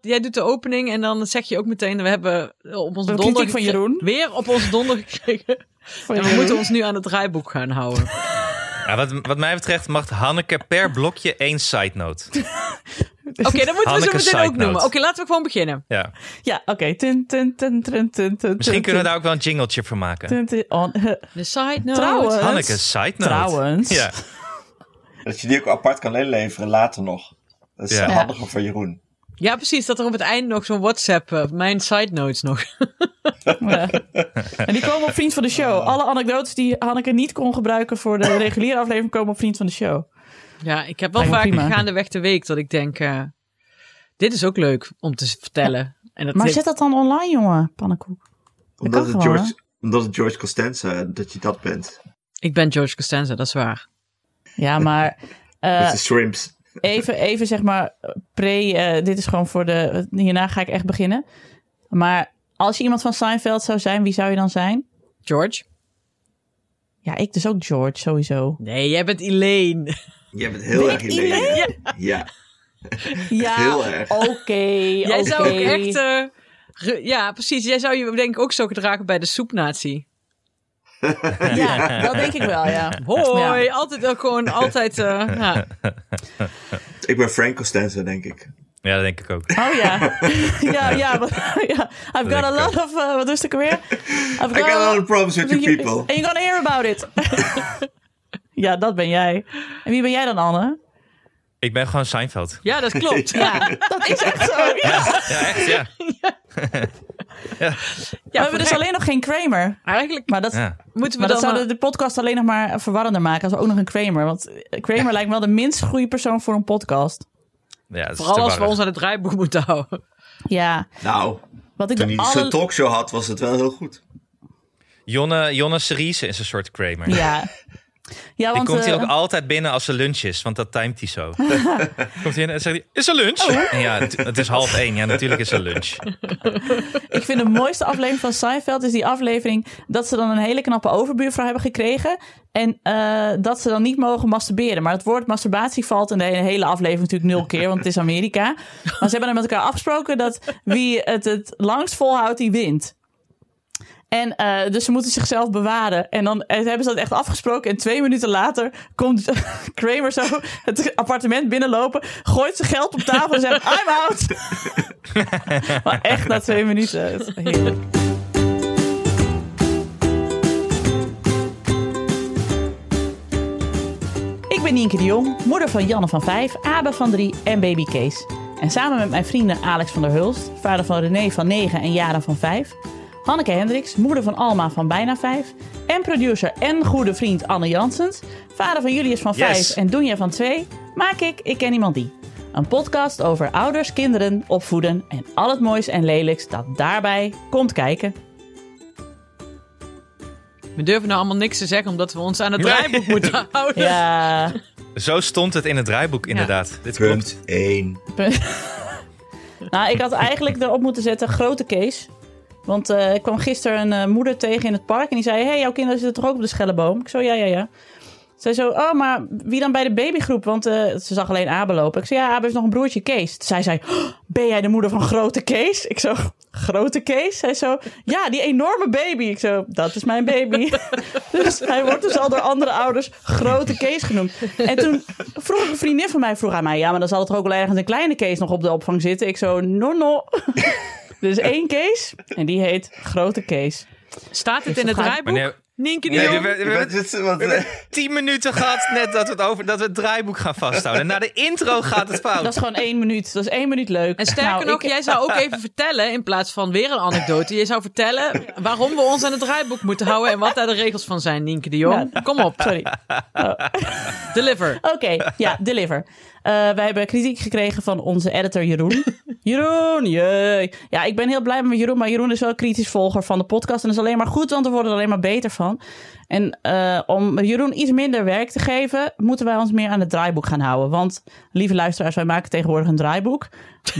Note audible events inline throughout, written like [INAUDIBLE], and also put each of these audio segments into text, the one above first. jij doet de opening en dan zeg je ook meteen... we hebben eh, op onze Een donder kritiek van gekre- Jeroen. weer op onze donder gekregen. Voor en we jullie. [LAUGHS] moeten ons nu aan het draaiboek gaan houden. Ja, wat, wat mij betreft mag Hanneke per blokje één side note. Oké, dat moeten we zo Hanneke meteen ook side noemen. Oké, note. laten we gewoon beginnen. Ja. Ja, oké. Tun, tun, tun, tun, tun, tun, Misschien tun, kunnen we daar ook wel een jingletje van maken. tun, tun, on- eh, De side note. Trouwens. Hanneke, side note. Trouwens. Ja. Dat je die ook apart kan inleveren later nog. Dat is Ja. handiger voor Jeroen. Ja, precies. Dat er op het eind nog zo'n WhatsApp... eh, mijn side notes nog. [LAUGHS] ja. En die komen op Vriend van de Show. Oh. Alle anekdotes die Hanneke niet kon gebruiken voor de reguliere aflevering komen op Vriend van de Show. Ja, ik heb wel Lijkt me vaak prima. gaandeweg de week dat ik denk... eh, dit is ook leuk om te vertellen. En dat Maar dit- zet dat dan online, jongen, pannenkoek. Omdat kan het, gewoon, George, omdat het George Costanza, dat je dat bent. Ik ben George Costanza, dat is waar. Ja, maar [LAUGHS] eh, Met de shrimps. even, even zeg maar pre. eh, dit is gewoon voor de. Hierna ga ik echt beginnen. Maar als je iemand van Seinfeld zou zijn, wie zou je dan zijn? George? Ja, ik dus ook George, sowieso. Nee, jij bent Elaine. Jij bent heel erg in Ja. Ja, Heel erg. Oké. Jij oké. zou ook echt... eh, ru- ja, precies. Jij zou je denk ik ook zo gedragen bij de soepnatie. Ja, dat denk ik wel, ja. Hoi, altijd ook gewoon altijd... eh, ja. Ik ben Frank Costanza, denk ik. ja, dat denk ik ook. Oh ja. [LAUGHS] ja, ja, maar- ja. I've got a Lekker. lot of. eh, wat is het ook weer? I've I got a lot of problems with you people. And you're gonna hear about it. [LAUGHS] ja, dat ben jij. En wie ben jij dan, Anne? Ik ben gewoon Seinfeld. ja, dat klopt. Ja, dat is echt zo. Ja. Ja, echt, ja. we Ja, hebben dus alleen nog geen Kramer. Eigenlijk Maar dat, ja. moeten we maar dat dan... zou eh, de, de podcast alleen nog maar verwarrender maken als we ook nog een Kramer. Want eh, Kramer lijkt me wel de minst goede persoon voor een podcast. ja dat is te Vooral als we warrig. ons aan het draaiboek [LAUGHS] moeten houden. Ja, Nou, wat ik toen de hij Eh. alle... zijn talkshow had, was het wel heel goed. Jonne, Jonne Seriese is een soort Kramer. Ja. Ja, Die want... komt hier eh, ook altijd binnen als er lunch is, want dat timet hij zo. komt hij in en zegt hij, is er lunch? En ja, het, het is half één. Ja, natuurlijk is er lunch. Ik vind de mooiste aflevering van Seinfeld is die aflevering dat ze dan een hele knappe overbuurvrouw hebben gekregen. En eh, dat ze dan niet mogen masturberen. Maar het woord masturbatie valt in de hele- hele aflevering natuurlijk nul keer, want het is Amerika. Maar ze hebben dan met elkaar afgesproken dat wie het het langst volhoudt, die wint. En eh, dus ze moeten zichzelf bewaren. En dan eh, hebben ze dat echt afgesproken. En twee minuten later komt [LAUGHS] Kramer zo het appartement binnenlopen. Gooit zijn geld op tafel en zegt: I'm out. maar echt na twee minuten. Het is heerlijk. Ik ben Nienke de Jong, moeder van Janne van 5, Abe van 3 en baby Kees. En samen met mijn vrienden Alex van der Hulst, vader van René van 9 en Jara van 5. Hanneke Hendricks, moeder van Alma van bijna 5. En producer en goede vriend Anne Janssens, vader van Julius van 5 Yes. en Doenja van 2. Maak ik Ik Ken Iemand Die. Een podcast over ouders, kinderen, opvoeden en al het moois en lelijks dat daarbij komt kijken. We durven nou allemaal niks te zeggen, omdat we ons aan het Nee. draaiboek [LAUGHS] moeten houden. Ja. Zo stond het in het draaiboek, inderdaad. Dit klopt. Eh, Punt 1. Nou, ik had eigenlijk erop moeten zetten grote case. Want eh, ik kwam gisteren een eh, moeder tegen in het park en die zei... hey, jouw kinderen zitten toch ook op de schelleboom? Ik zo, ja, ja, ja. Zij zo, oh, maar wie dan bij de babygroep? Want eh, ze zag alleen Abe lopen. Ik zei, ja, Abe heeft nog een broertje, Kees. Toen zei zij, "Oh, ben jij de moeder van grote Kees? Ik zo, grote Kees? Zij zo, ja, die enorme baby. Ik zo, dat is mijn baby. dus hij wordt dus al door andere ouders grote Kees genoemd. En toen vroeg een vriendin van mij, vroeg aan mij... ja, maar dan zal het toch ook wel ergens een kleine Kees nog op de opvang zitten? Ik zo, no, no. dus één Kees en die heet grote Kees. Staat het in het dat gaat- draaiboek? Wanneer- Nienke de Nee, Jong? we- we- we- Je bent- dit is wat, eh, we hebben tien minuten gehad net dat we, het over, dat we het draaiboek gaan vasthouden. Na de intro gaat het fout. Dat is gewoon één minuut. Dat is één minuut leuk. En sterker Nou, nog, ik- jij zou ook even vertellen, in plaats van weer een anekdote, je zou vertellen waarom we ons aan het draaiboek moeten houden en wat daar de regels van zijn, Nienke de Jong. Nou. Kom op, Sorry. deliver. Oké, ja, deliver. Eh, wij hebben kritiek gekregen van onze editor Jeroen. Jeroen, jee. Ja, ik ben heel blij met Jeroen, maar Jeroen is wel een kritisch volger van de podcast. En dat is alleen maar goed, want we worden er alleen maar beter van. En En eh, om Jeroen iets minder werk te geven, moeten wij ons meer aan het draaiboek gaan houden. Want, lieve luisteraars, wij maken tegenwoordig een draaiboek.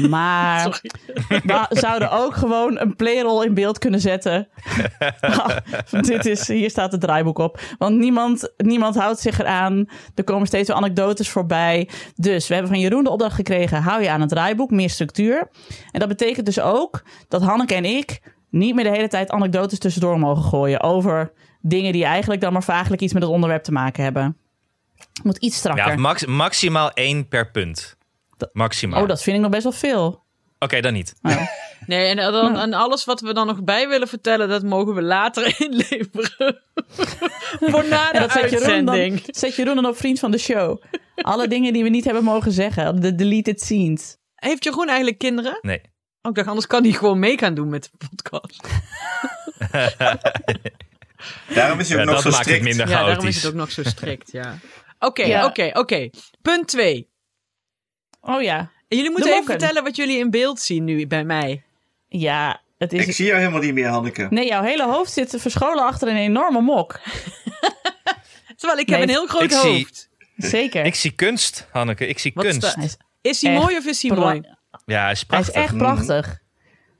Maar Sorry. we zouden ook gewoon een playroll in beeld kunnen zetten. [LAUGHS] Dit is, hier staat het draaiboek op. Want niemand, niemand houdt zich eraan. Er komen steeds weer anekdotes voorbij. Dus we hebben van Jeroen de opdracht gekregen: hou je aan het draaiboek, meer structuur. En dat betekent dus ook dat Hanneke en ik niet meer de hele tijd anekdotes tussendoor mogen gooien over dingen die eigenlijk dan maar vaaglijk iets met het onderwerp te maken hebben. Moet iets strakker. Ja, max, maximaal één per punt. Maximaal. oh, dat vind ik nog best wel veel. Oké, dan niet. Ah. Nee, en, eh, dan, en alles wat we dan nog bij willen vertellen, dat mogen we later [LAUGHS] inleveren. Voor na de En dat zet Jeroen, dan, uitzending. zet Jeroen dan op vriend van de show. Alle dingen die we niet hebben mogen zeggen. De deleted scenes. Heeft Jeroen eigenlijk kinderen? Nee. Oh, ik dacht, anders kan hij gewoon mee gaan doen met de podcast. Daarom is hij Ja, ook dat nog zo maakt het strikt. minder Ja, daarom is chaotisch. het ook nog zo strikt, ja. Oké, Ja. oké, oké. Punt 2. Oh ja. Jullie moeten even mokken. vertellen wat jullie in beeld zien nu bij mij. Ja, het Ik is... zie jou helemaal niet meer, Hanneke. Nee, jouw hele hoofd zit verscholen achter een enorme mok. Terwijl ik Nee, heb een heel groot ik zie- hoofd. Zeker. Ik zie kunst, Hanneke. Ik zie Wat kunst. staat- Hij is, Is hij Echt mooi of is hij pra- mooi? Ja, hij is hij is prachtig. echt prachtig.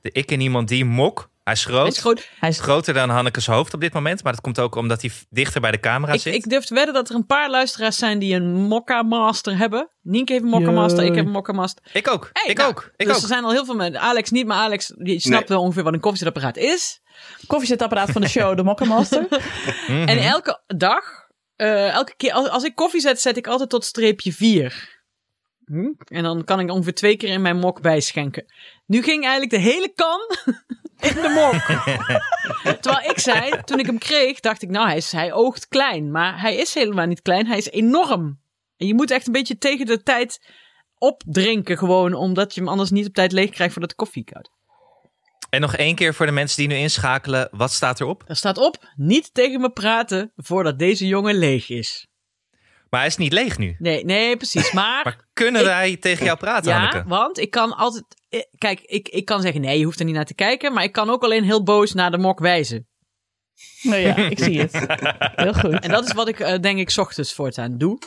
De ik en iemand die mok. Hij is groot. Hij is groot. Hij is... Groter dan Hanneke's hoofd op dit moment. Maar dat komt ook omdat hij v- dichter bij de camera Ik, zit. ik durf te wedden dat er een paar luisteraars zijn die een Mokka Master hebben. Nienke heeft een Mokka Master, Jee. ik heb een Mokka Master. Ik ook. Hey, ik nou, ook. Ik dus ook. er zijn al heel veel mensen. Alex niet, maar Alex die snapt wel ongeveer wat een koffiezetapparaat is. Koffiezetapparaat van de show, de mokkenmaster. Mhm. En elke dag, eh, elke keer als, als ik koffie zet, zet ik altijd tot streepje 4. En dan kan ik ongeveer twee keer in mijn mok bijschenken. Nu ging eigenlijk de hele kan [LAUGHS] in de [LAUGHS] mok. Terwijl ik zei, toen ik hem kreeg, dacht ik, nou, hij, is, hij oogt klein. Maar hij is helemaal niet klein, hij is enorm. En je moet echt een beetje tegen de tijd opdrinken gewoon, omdat je hem anders niet op tijd leeg krijgt voordat de koffie koud. En nog één keer voor de mensen die nu inschakelen. Wat staat erop? Er staat op, niet tegen me praten voordat deze jongen leeg is. Maar hij is niet leeg nu. Nee, nee, precies. Maar, Maar kunnen Ik- wij tegen jou praten, ja, Hanneke? want ik kan altijd... eh, Kijk, ik, ik kan zeggen, nee, je hoeft er niet naar te kijken. Maar ik kan ook alleen heel boos naar de mok wijzen. nou ja, ik zie het. Heel goed. En dat is wat ik, eh, denk ik, 's ochtends voortaan doe.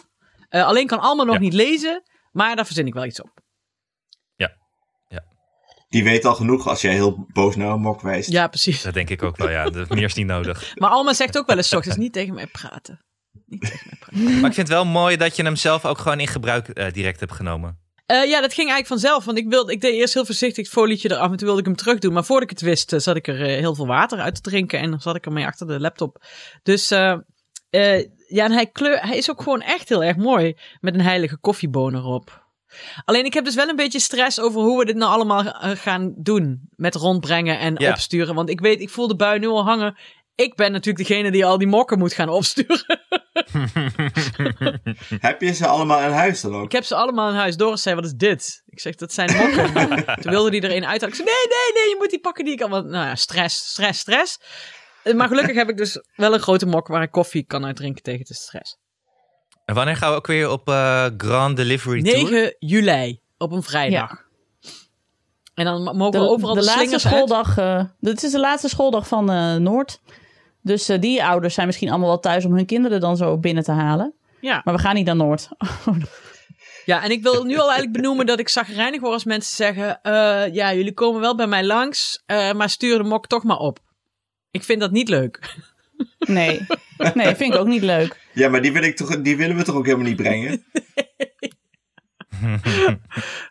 Eh, alleen kan Alma nog Ja. niet lezen, maar daar verzin ik wel iets op. Die weet al genoeg als jij heel boos naar een mok wijst. Ja, precies. Dat denk ik ook wel, ja. Dat- Meer is niet nodig. Maar Alma zegt ook wel eens 's ochtends, niet tegen mij praten. Maar ik vind het wel mooi dat je hem zelf ook gewoon in gebruik eh, direct hebt genomen. Eh, ja, dat ging eigenlijk vanzelf. Want ik, wilde, ik deed eerst heel voorzichtig het folietje eraf en toen wilde ik hem terug doen. Maar voordat ik het wist, eh, zat ik er eh, heel veel water uit te drinken. En dan zat ik ermee achter de laptop. Dus eh, eh, ja, en hij, kleur, hij is ook gewoon echt heel erg mooi. Met een heilige koffieboon erop. Alleen ik heb dus wel een beetje stress over hoe we dit nou allemaal eh, gaan doen. Met rondbrengen en Ja. opsturen. Want ik weet, ik voel de bui nu al hangen. Ik ben natuurlijk degene die al die mokken moet gaan opsturen. Heb je ze allemaal aan huis dan ook? Ik heb ze allemaal in huis. Doris zei, wat is dit? Ik zeg, dat zijn mokken. Toen wilde die er een uit. Ik zei, nee, nee, nee, je moet die pakken die ik al... Want, nou ja, stress, stress, stress. Eh, Maar gelukkig heb ik dus wel een grote mok waar ik koffie kan uitdrinken tegen de stress. En wanneer gaan we ook weer op eh, Grand Delivery Tour? 9 juli, op een vrijdag. En dan ma- mogen we overal de, laatste slingers uit. schooldag. eh, dit is de laatste schooldag van eh, Noord. Dus eh, die ouders zijn misschien allemaal wel thuis om hun kinderen dan zo binnen te halen. Ja. Maar we gaan niet naar Noord. ja, en ik wil nu al eigenlijk benoemen dat ik zagrijnig word als mensen zeggen... eh, ja, jullie komen wel bij mij langs, eh, maar stuur de mok toch maar op. Ik vind dat niet leuk. Nee. Nee, vind ik ook niet leuk. Ja, maar die, wil ik toch, die willen we toch ook helemaal niet [LAUGHS] brengen?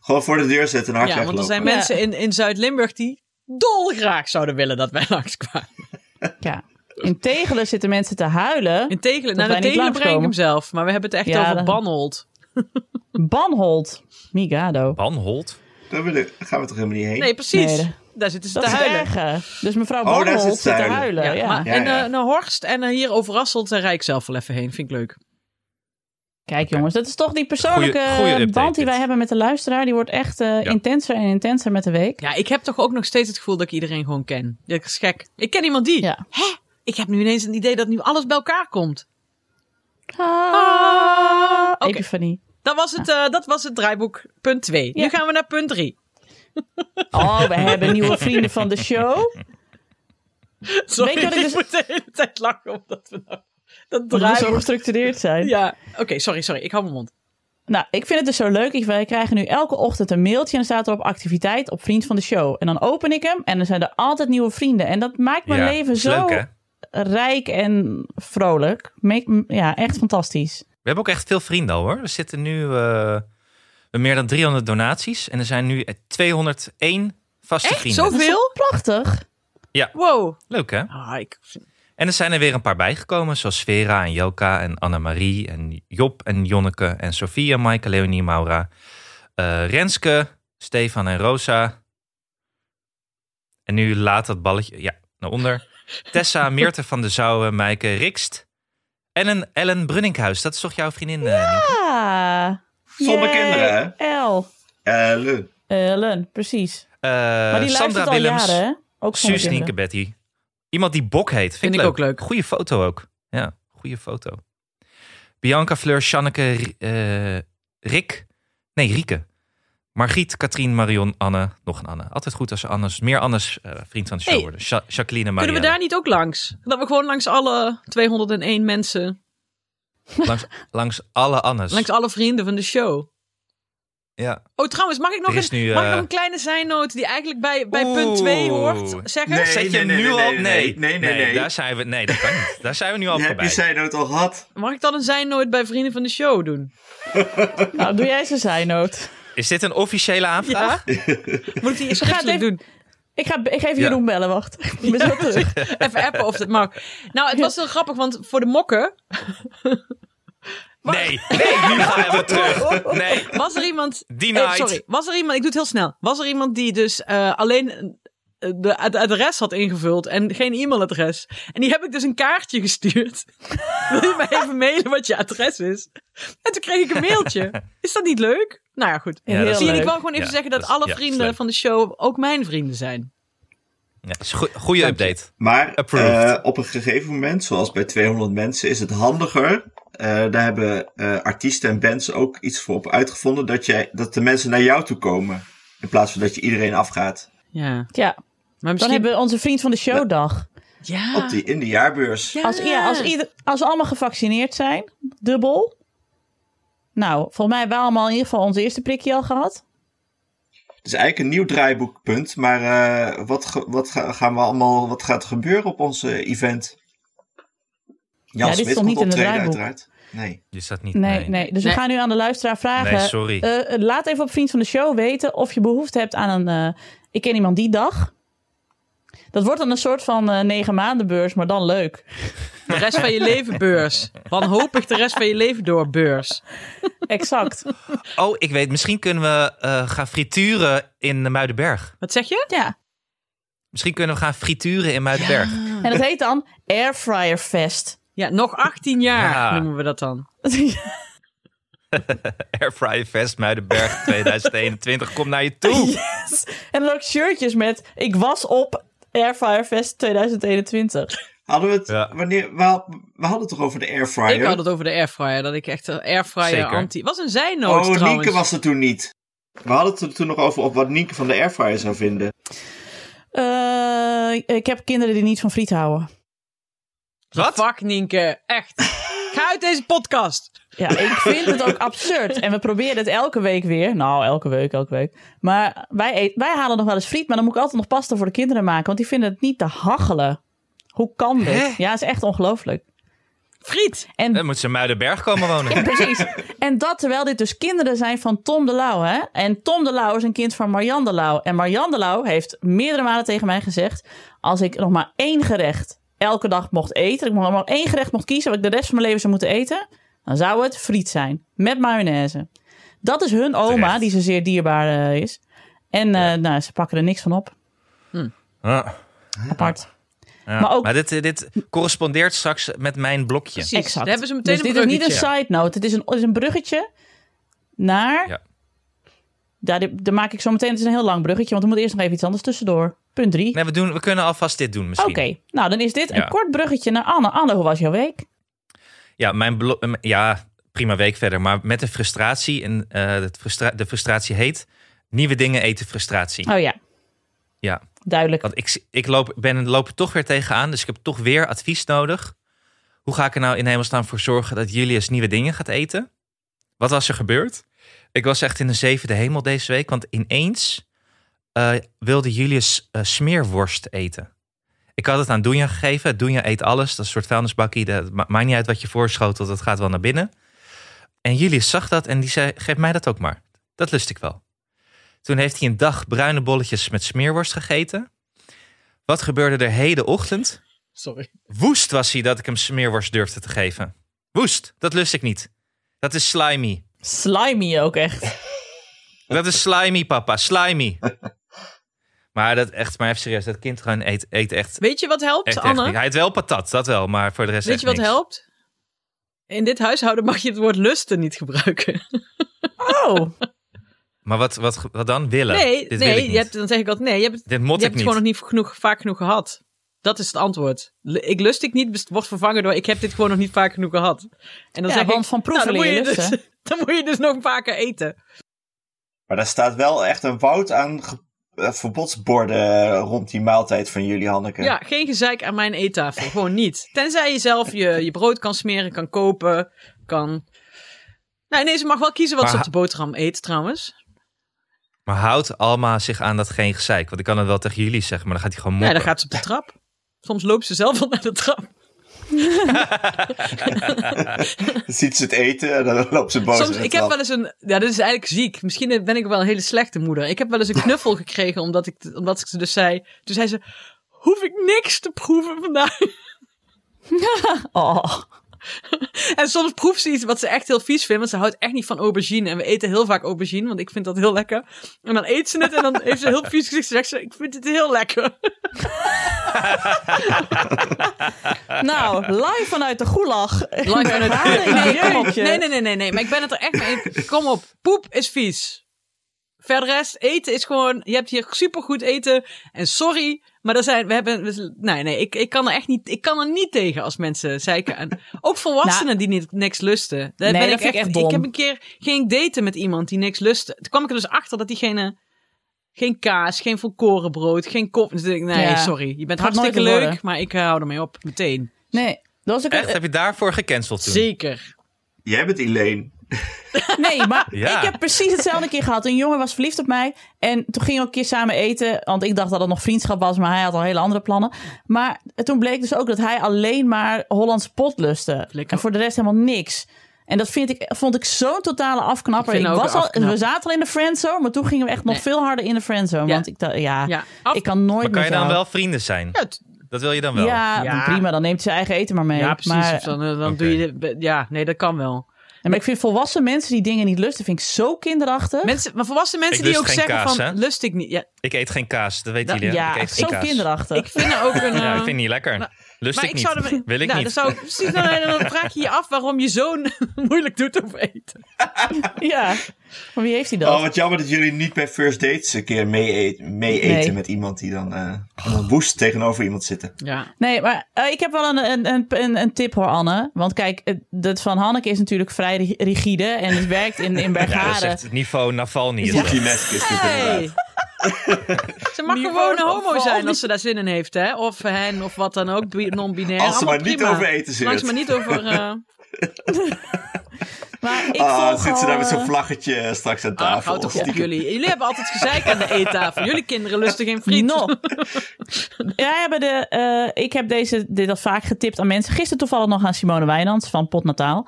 Gewoon voor de deur zetten en hard Ja, want er zijn weglopen. Ja. mensen in, in Zuid-Limburg die dolgraag zouden willen dat wij [LAUGHS] langskwamen. Ja. In Tegelen zitten mensen te huilen. In Tegelen, nou, wij in niet Tegelen breng ik langskomen. hem zelf. Maar we hebben het echt Ja, over dat- Banhold. Banhold. Migado. Banhold? Daar willen- gaan we toch helemaal niet heen? Nee, precies. Nee, Daar zitten ze Dat te is het huilen. erge. Dus mevrouw Oh, daar Banhold zit zit ze te te huilen. huilen. Ja, maar- Ja, en ja. eh, naar Horst en eh, hier over Rasselt daar rij ik zelf wel even heen. Vind ik leuk. Kijk jongens, dat is toch die persoonlijke Goeie- goeie update band die wij dit. hebben met de luisteraar. Die wordt echt eh, intenser en intenser met de week. Ja, ik heb toch ook nog steeds het gevoel dat ik iedereen gewoon ken. Dat is gek. Ik ken iemand die. Ja. Hè? Ik heb nu ineens het idee dat nu alles bij elkaar komt. Ah, Oké. Epiphanie. Dat was het, eh, dat was het draaiboek punt 2. Ja. Nu gaan we naar punt 3. Oh, we hebben nieuwe vrienden [LAUGHS] van de show. Sorry, Weet je wat ik ik dus- moet de hele tijd lachen omdat we nou... Dat Dat we zo draaiboek. gestructureerd zijn. Ja, oké, sorry, sorry. Ik hou mijn mond. Nou, ik vind het dus zo leuk. Ik- Wij krijgen nu elke ochtend een mailtje en dan staat erop activiteit op Vriend van de Show. En dan open ik hem en dan zijn er altijd nieuwe vrienden. En dat maakt mijn Ja, leven is zo Leuk, hè? rijk en vrolijk. Make- m- ja, echt fantastisch. We hebben ook echt veel vrienden al, hoor. Er zitten nu eh, meer dan 300 donaties. En er zijn nu eh, 201 vaste Echt? vrienden. Dat is Zoveel? toch prachtig. Wow. Leuk, hè? Ah, ik... En er zijn er weer een paar bijgekomen, zoals Vera en Jelka en Annemarie en Job en Jonneke en Sofia, Maaike, Leonie, Maura, eh, Renske, Stefan en Rosa. En nu laat dat balletje, ja, naar onder. [LAUGHS] Tessa, Meerte van de Zouwen, Maaike, Rikst en een Ellen Brunninkhuis. Dat is toch jouw vriendin? eh, Nienke? Ah, Zonder yay, kinderen, hè? El. Eh, Ellen. Ellen, precies. Eh, maar die Sandra luistert al Willems, jaren, hè? Ook zonder Suus kinderen. Nienke Betty. Iemand die Bok heet. Vind, Vind ik ook leuk. Goeie foto ook. Ja, goede foto. Bianca, Fleur, Sjanneke, Ri- eh, Rick. Nee, Rieke. Margriet, Katrien, Marion, Anne. Nog een Anne. Altijd goed als ze Annes, meer Annes eh, vriend van de show Hey, worden. Sja- Jacqueline en Kunnen we Marianne. daar niet ook langs? Dat we gewoon langs alle 201 mensen, Langs, langs alle Annes. langs alle vrienden van de show. Ja. Oh, trouwens, mag ik nog, Er is een, nu, mag ik eh, nog een kleine zijnoot die eigenlijk bij, bij punt Oeh. 2 hoort zeggen? Nee. Zet je hem nee, nu nee, al? nee, nee, nee, nee, nee. Daar zijn we, nee, dat kan niet. Daar zijn we [LAUGHS] nu al Je hebt voorbij. die zijnoot al gehad. Mag ik dan een zijnoot bij vrienden van de show doen? Nou, doe jij ze zijnoot. Is dit een officiële aanvraag? Ja. Moet ik die eerst Gaat schriftelijk even- doen? Ik ga, ik ga even Ja. Jeroen bellen, wacht. Ik ben zo terug. Even appen of dat mag. Nou, het was heel grappig, want voor de mokken Nee, nee, nu gaan we terug. Nee, was er iemand... die Eh, night. sorry, was er iemand... Ik doe het heel snel. Was er iemand die dus eh, alleen eh, de, het adres had ingevuld en geen e-mailadres? En die heb ik dus een kaartje gestuurd. [LAUGHS] Wil je mij even mailen wat je adres is? En toen kreeg ik een mailtje. Is dat niet leuk? Nou ja, goed. Ja, dat Heel is Zie je, ik leuk. wil gewoon even Ja, zeggen dat, dat is- alle ja, dat is vrienden leuk. van de show ook mijn vrienden zijn. Ja, is een goe- goede Dank je. update. Maar Approved. eh, op een gegeven moment, zoals bij 200 mensen, is het handiger. eh, daar hebben eh, artiesten en bands ook iets voor op uitgevonden. Dat, jij, dat de mensen naar jou toe komen. In plaats van dat je iedereen afgaat. Ja. Ja, Maar dan misschien... hebben we onze vriend van de show dag. Ja. Op die, in de jaarbeurs. Ja. Als, ja, als, ieder, als we allemaal gevaccineerd zijn, dubbel. Nou, volgens mij hebben we allemaal in ieder geval ons eerste prikje al gehad. Het is eigenlijk een nieuw draaiboekpunt. Maar eh, wat, ge- wat ga- gaan we allemaal, wat gaat er gebeuren op ons eh, event? Jan Ja, dit Smit stond komt niet in het optreden draaiboek. uiteraard. Nee. Je staat niet. Nee, Nee, nee. Dus Nee. we gaan nu aan de luisteraar vragen. Nee, sorry. eh, eh, laat even op Vriend van de Show weten of je behoefte hebt aan een... eh, ik ken iemand die dag. Dat wordt dan een soort van eh, negen maanden beurs, maar dan leuk. De rest van je leven beurs. Wanhopig de rest van je leven door beurs. Exact. Oh, ik weet. Misschien kunnen we eh, gaan frituren in de Muidenberg. Wat zeg je? [LAUGHS] ja. Misschien kunnen we gaan frituren in Muidenberg. En dat heet dan Airfryer Fest. [LAUGHS] Ja, nog 18 jaar Ja. noemen we dat dan. [LAUGHS] Airfryer Fest Muidenberg 2021. Kom naar [LAUGHS] je toe. En dan ook shirtjes met ik was op Airfryer Fest 2021. Hadden we het, Ja. wanneer, we, had- we hadden het toch over de airfryer? Ik had het over de airfryer. Dat ik echt een airfryer Zeker. anti... Was een zijnoot Oh, trouwens. Nienke was er toen niet. We hadden het er toen nog over op wat Nienke van de airfryer zou vinden. Eh, ik heb kinderen die niet van friet houden. Wat? Fuck Nienke, [LAUGHS] echt. Ga uit deze podcast. Ja, ik vind het ook absurd. En we proberen het elke week weer. Nou, elke week, elke week. Maar wij, eet- wij halen nog wel eens friet, maar dan moet ik altijd nog pasta voor de kinderen maken. Want die vinden het niet te hachelen. Hoe kan dit? Hè? Ja, is echt ongelooflijk. Friet. En Dan moet ze in Muidenberg komen wonen. Precies. En dat terwijl dit dus kinderen zijn van Tom de Lauw. Hè? En Tom de Lauw is een kind van Marianne de Lauw. En Marianne de Lauw heeft meerdere malen tegen mij gezegd... als ik nog maar één gerecht elke dag mocht eten... ik nog maar één gerecht mocht kiezen... wat ik de rest van mijn leven zou moeten eten... dan zou het friet zijn. Met mayonaise. Dat is hun oma, Terecht. die ze zeer dierbaar eh, is. En eh, nou, ze pakken er niks van op. Ja, Apart. ja. Maar ook- dit, eh, dit correspondeert straks met mijn blokje. Precies. Exact. Daar hebben ze meteen dus een dit is niet een bruggetje. side note. Het is een, het is een bruggetje naar... Ja. Daar, daar maak ik zo meteen... Het is een heel lang bruggetje, want er moet eerst nog even iets anders tussendoor. Punt drie. Nee, we, doen, we kunnen alvast dit doen Oké, misschien. nou dan is dit Ja. een kort bruggetje naar Anne. Anne, hoe was jouw week? Ja, mijn blo- eh, ja, prima week verder. Maar met de frustratie. En eh, het frustra- de frustratie heet... Nieuwe dingen eten frustratie. Oh ja, Ja. duidelijk. Want ik, ik loop, ben, loop er toch weer tegenaan, dus ik heb toch weer advies nodig. Hoe ga ik er nou in hemelsnaam voor zorgen dat Julius nieuwe dingen gaat eten? Wat was er gebeurd? Ik was echt in de zevende hemel deze week, want ineens eh, wilde Julius eh, smeerworst eten. Ik had het aan Doenja gegeven. Doenja eet alles. Dat is een soort vuilnisbakkie. Dat ma- maakt niet uit wat je voorschotelt. Dat gaat wel naar binnen. En Julius zag dat en die zei, geef mij dat ook maar. Dat lust ik wel. Toen heeft hij een dag bruine bolletjes met smeerworst gegeten. Wat gebeurde er hedenochtend? Sorry. Woest was hij dat ik hem smeerworst durfde te geven. Woest, dat lust ik niet. Dat is slimy. Slimy ook echt. Dat is slimy, papa. Slimy. Maar dat echt, maar even serieus, dat kind gewoon eet, eet echt. Weet je wat helpt, echt, echt Anne? niks. Hij eet wel patat, dat wel, maar voor de rest. Weet echt je wat niks. helpt? In dit huishouden mag je het woord lusten niet gebruiken. [LAUGHS] Oh, Maar wat, wat, wat dan? Willen? Nee, Dit wil ik nee niet. je hebt, dan zeg ik altijd nee. Je hebt het, Dit je mot hebt ik het niet. gewoon nog niet genoeg, vaak genoeg gehad. Dat is het antwoord. L- Ik lust ik niet best- wordt vervangen door ik heb dit gewoon nog niet vaak genoeg gehad. En dan Ja, zeg want ik, van nou, proeven dan, moet leer je je dus, lusten. [LAUGHS] dan moet je dus nog vaker eten. Maar daar staat wel echt een woud aan ge- eh, verbodsborden eh, rond die maaltijd van jullie, Hanneke. Ja, geen gezeik aan mijn eettafel. Gewoon niet. Tenzij je zelf je, je brood kan smeren, kan kopen, kan... Nou, nee, ze mag wel kiezen wat Maar ze op ha- de boterham eet trouwens. Maar houdt Alma zich aan dat geen gezeik? Want ik kan het wel tegen jullie zeggen, maar dan gaat hij gewoon Nee, moppen. dan gaat ze op de trap. Soms loopt ze zelf al naar de trap. Dan [LAUGHS] ziet ze het eten en dan loopt ze boos. Soms, in de ik heb trap. wel eens een. Ja, dit is eigenlijk ziek. Misschien ben ik wel een hele slechte moeder. Ik heb wel eens een knuffel gekregen omdat ik, omdat ik ze dus zei. Toen zei ze: Hoef ik niks te proeven vandaag? oh. [LAUGHS] En soms proeft ze iets wat ze echt heel vies vindt. Want ze houdt echt niet van aubergine. En we eten heel vaak aubergine, want ik vind dat heel lekker. En dan eet ze het en dan heeft ze een heel vies gezicht. Ze zegt ze: Ik vind het heel lekker. Nou, live vanuit de gulag. Live aan het- Herhaling, nee, kom op je. nee, nee, nee, nee, nee. Maar ik ben het er echt mee. Kom op. Poep is vies. Verder rest, eten is gewoon. Je hebt hier supergoed eten. En sorry, maar er zijn. We hebben. we- nee, nee, ik, ik, kan er echt niet, ik kan er niet tegen als mensen zeiken. En ook volwassenen die niet, niks lusten. Daar Nou, Nee, ben dat ik vind ik echt. echt dom. Ik heb een keer. ging ik daten met iemand die niks lustte. Toen kwam ik er dus achter dat diegene. Geen kaas, geen volkoren brood, geen kop. Dus ik, nee, Ja. sorry. Je bent Gaat nooit hartstikke wat leuk, worden. maar ik eh, hou ermee op. Meteen. Nee, dat was ook Echt? Heb je daarvoor gecanceld toen? Zeker. Jij bent Elaine. Nee, maar [LAUGHS] Ja. ik heb precies hetzelfde keer gehad. Een jongen was verliefd op mij. En toen gingen we een keer samen eten. Want ik dacht dat het nog vriendschap was, maar hij had al hele andere plannen. Maar toen bleek dus ook dat hij alleen maar Hollands pot lustte. Flikker. En voor de rest helemaal niks. En dat vind ik, vond ik zo'n totale afknapper. Ik vind ook was een al, afknapper. we zaten al in de friendzone, maar toen gingen we echt nog Nee. veel harder in de friendzone. Ja. Want Ah, ik dacht, ja, Ja, af- ik kan nooit Maar kan met je dan jou. wel vrienden zijn? Ja, t- Dat wil je dan wel? Ja, Ja. prima. Dan neemt hij zijn eigen eten maar mee. Ja, precies. Maar, Of dan eh, dan Oké. doe je. de- Ja, nee, dat kan wel. maar ik vind volwassen mensen die dingen niet lusten, vind ik zo kinderachtig. Mensen, maar volwassen mensen Ik die lust ook geen zeggen kaas, van hè? lust ik niet. Ja, Ik eet geen kaas, dat weten Dat- jullie. hè? ja, ik eet geen zo kaas. kinderachtig. ik vind [LAUGHS] er ook een. Ja, eh, ik vind het niet lekker. Lust maar ik ik niet. zou er- Wil ik nou, niet. Dan, zou ik, precies, nou, en dan vraag je je af waarom je zoon [LAUGHS] moeilijk doet over eten. Ja, maar wie heeft hij dat? Oh, wat jammer dat jullie niet bij first dates een keer mee, eet- mee eten Nee. met iemand die dan eh, dan woest tegenover iemand zitten. Ja. Nee, maar eh, ik heb wel een, een, een, een, een tip hoor, Anne. Want kijk, eh, dat van Hanneke is natuurlijk vrij ri- rigide en het werkt [LAUGHS] in, in Ja, dat is Bergharen. echt het niveau Navalny. is dat. Poekie mask is dit Hey. [LAUGHS] inderdaad. ze mag Die gewoon een woont homo op zijn Bali. als ze daar zin in heeft, hè? Of hen of wat dan ook, bi- non-binair. Als ze Allemaal maar niet prima. over eten zit. Langs maar niet over. [LAUGHS] eh, maar ik Ah, volg zit ze al, daar met zo'n eh, vlaggetje eh, straks aan ah, tafel. houd toch op Stiekem. jullie. Jullie hebben altijd gezeik aan de eettafel. Jullie kinderen lusten geen friet. No. [LAUGHS] ja, hebben de, eh, ik heb deze, dit al vaak getipt aan mensen. Gisteren toevallig nog aan Simone Wijnands van Pot Nataal.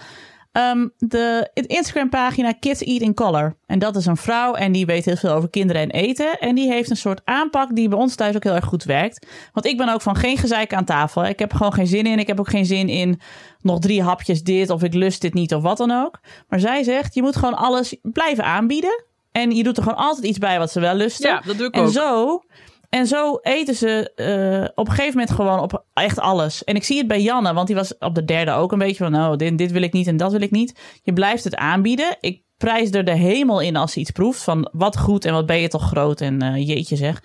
Ehm, de het Instagram-pagina Kids Eat in Color. En dat is een vrouw en die weet heel veel over kinderen en eten. En die heeft een soort aanpak die bij ons thuis ook heel erg goed werkt. Want ik ben ook van geen gezeik aan tafel. hè. Ik heb er gewoon geen zin in. Ik heb ook geen zin in nog drie hapjes dit of ik lust dit niet of wat dan ook. Maar zij zegt, je moet gewoon alles blijven aanbieden. En je doet er gewoon altijd iets bij wat ze wel lusten. Ja, dat doe ik en ook. Zo, en zo eten ze eh, op een gegeven moment gewoon op echt alles. En ik zie het bij Janne, want die was op de derde ook een beetje van... nou, dit, dit wil ik niet en dat wil ik niet. Je blijft het aanbieden. Ik prijs er de hemel in als ze iets proeft. Van wat goed en wat ben je toch groot en eh, jeetje zeg.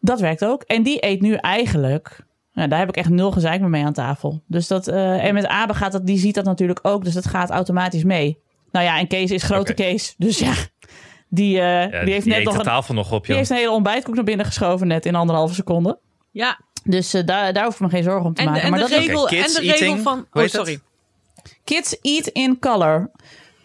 Dat werkt ook. En die eet nu eigenlijk... Nou, daar heb ik echt nul gezeik meer mee aan tafel. Dus dat, eh, en met Abe gaat dat, die ziet dat natuurlijk ook. Dus dat gaat automatisch mee. Nou ja, en Kees is grote Oké. Kees. Dus ja, die, eh, Ja, die heeft net eet nog de een, tafel nog op, die joh. heeft een hele ontbijtkoek naar binnen geschoven net in anderhalve seconde. Ja, Dus eh, daar, daar hoef ik me geen zorgen om te En, maken. en, maar de dat is- regel, Oké, en kids de regel eating. van... Hoe Oh, heet dat? sorry. Kids eat in color.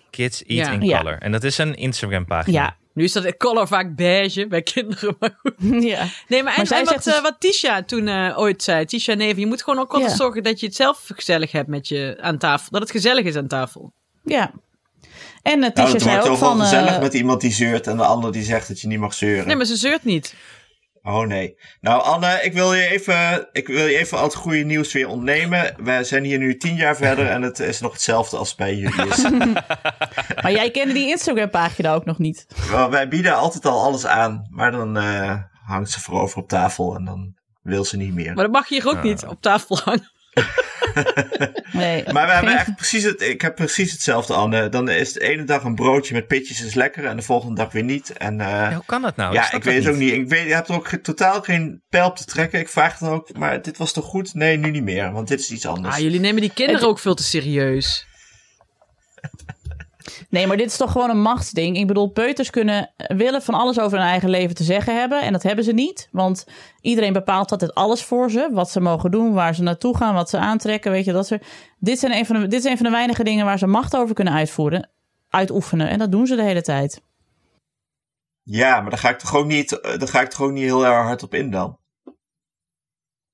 Kids Eat Ja. in Ja. Color. En dat is een Instagram pagina. Ja. Nu is dat de color vaak beige bij kinderen, maar goed. [LAUGHS] ja. Nee, maar, en, Maar zij en wat, zegt dus- eh, wat Tisha toen eh, ooit zei, Tisha Neven, je moet gewoon ook altijd Ja. zorgen dat je het zelf gezellig hebt met je aan tafel. Dat het gezellig is aan tafel. Ja. En het Nou, Tisha het zei wordt ook toch wel van... gezellig eh, met iemand die zeurt en de ander die zegt dat je niet mag zeuren. Nee, maar ze zeurt niet. Oh nee. Nou Anne, ik wil je even, ik wil je even al het goede nieuws weer ontnemen. We zijn hier nu tien jaar verder en het is nog hetzelfde als het bij jullie [LAUGHS] is. Maar jij kende die Instagram-pagina ook nog niet. Wel, wij bieden altijd al alles aan, maar dan eh, hangt ze voorover op tafel en dan wil ze niet meer. Maar dat mag hier ook niet op tafel hangen. Nee. Maar we hebben Geen- echt precies het, ik heb precies hetzelfde Anne. Dan is de ene dag een broodje met pitjes is lekker en de volgende dag weer niet. En eh, Ja, hoe kan dat nou? ja, snap ik weet het dat ook niet. Ik weet, je hebt er ook ge- totaal geen pijl op te trekken. Ik vraag dan ook, maar dit was toch goed? Nee, nu niet meer, want dit is iets anders. Ah, jullie nemen die kinderen Het- ook veel te serieus. Nee, maar dit is toch gewoon een machtsding. Ik bedoel, peuters kunnen eh, willen van alles over hun eigen leven te zeggen hebben. En dat hebben ze niet. Want iedereen bepaalt altijd alles voor ze. Wat ze mogen doen, waar ze naartoe gaan, wat ze aantrekken. Weet je, dat soort. Dit, zijn een van de, dit is een van de weinige dingen waar ze macht over kunnen uitvoeren, uitoefenen. En dat doen ze de hele tijd. Ja, maar daar ga ik toch ook niet, eh, daar ga ik toch ook niet heel erg hard op in dan.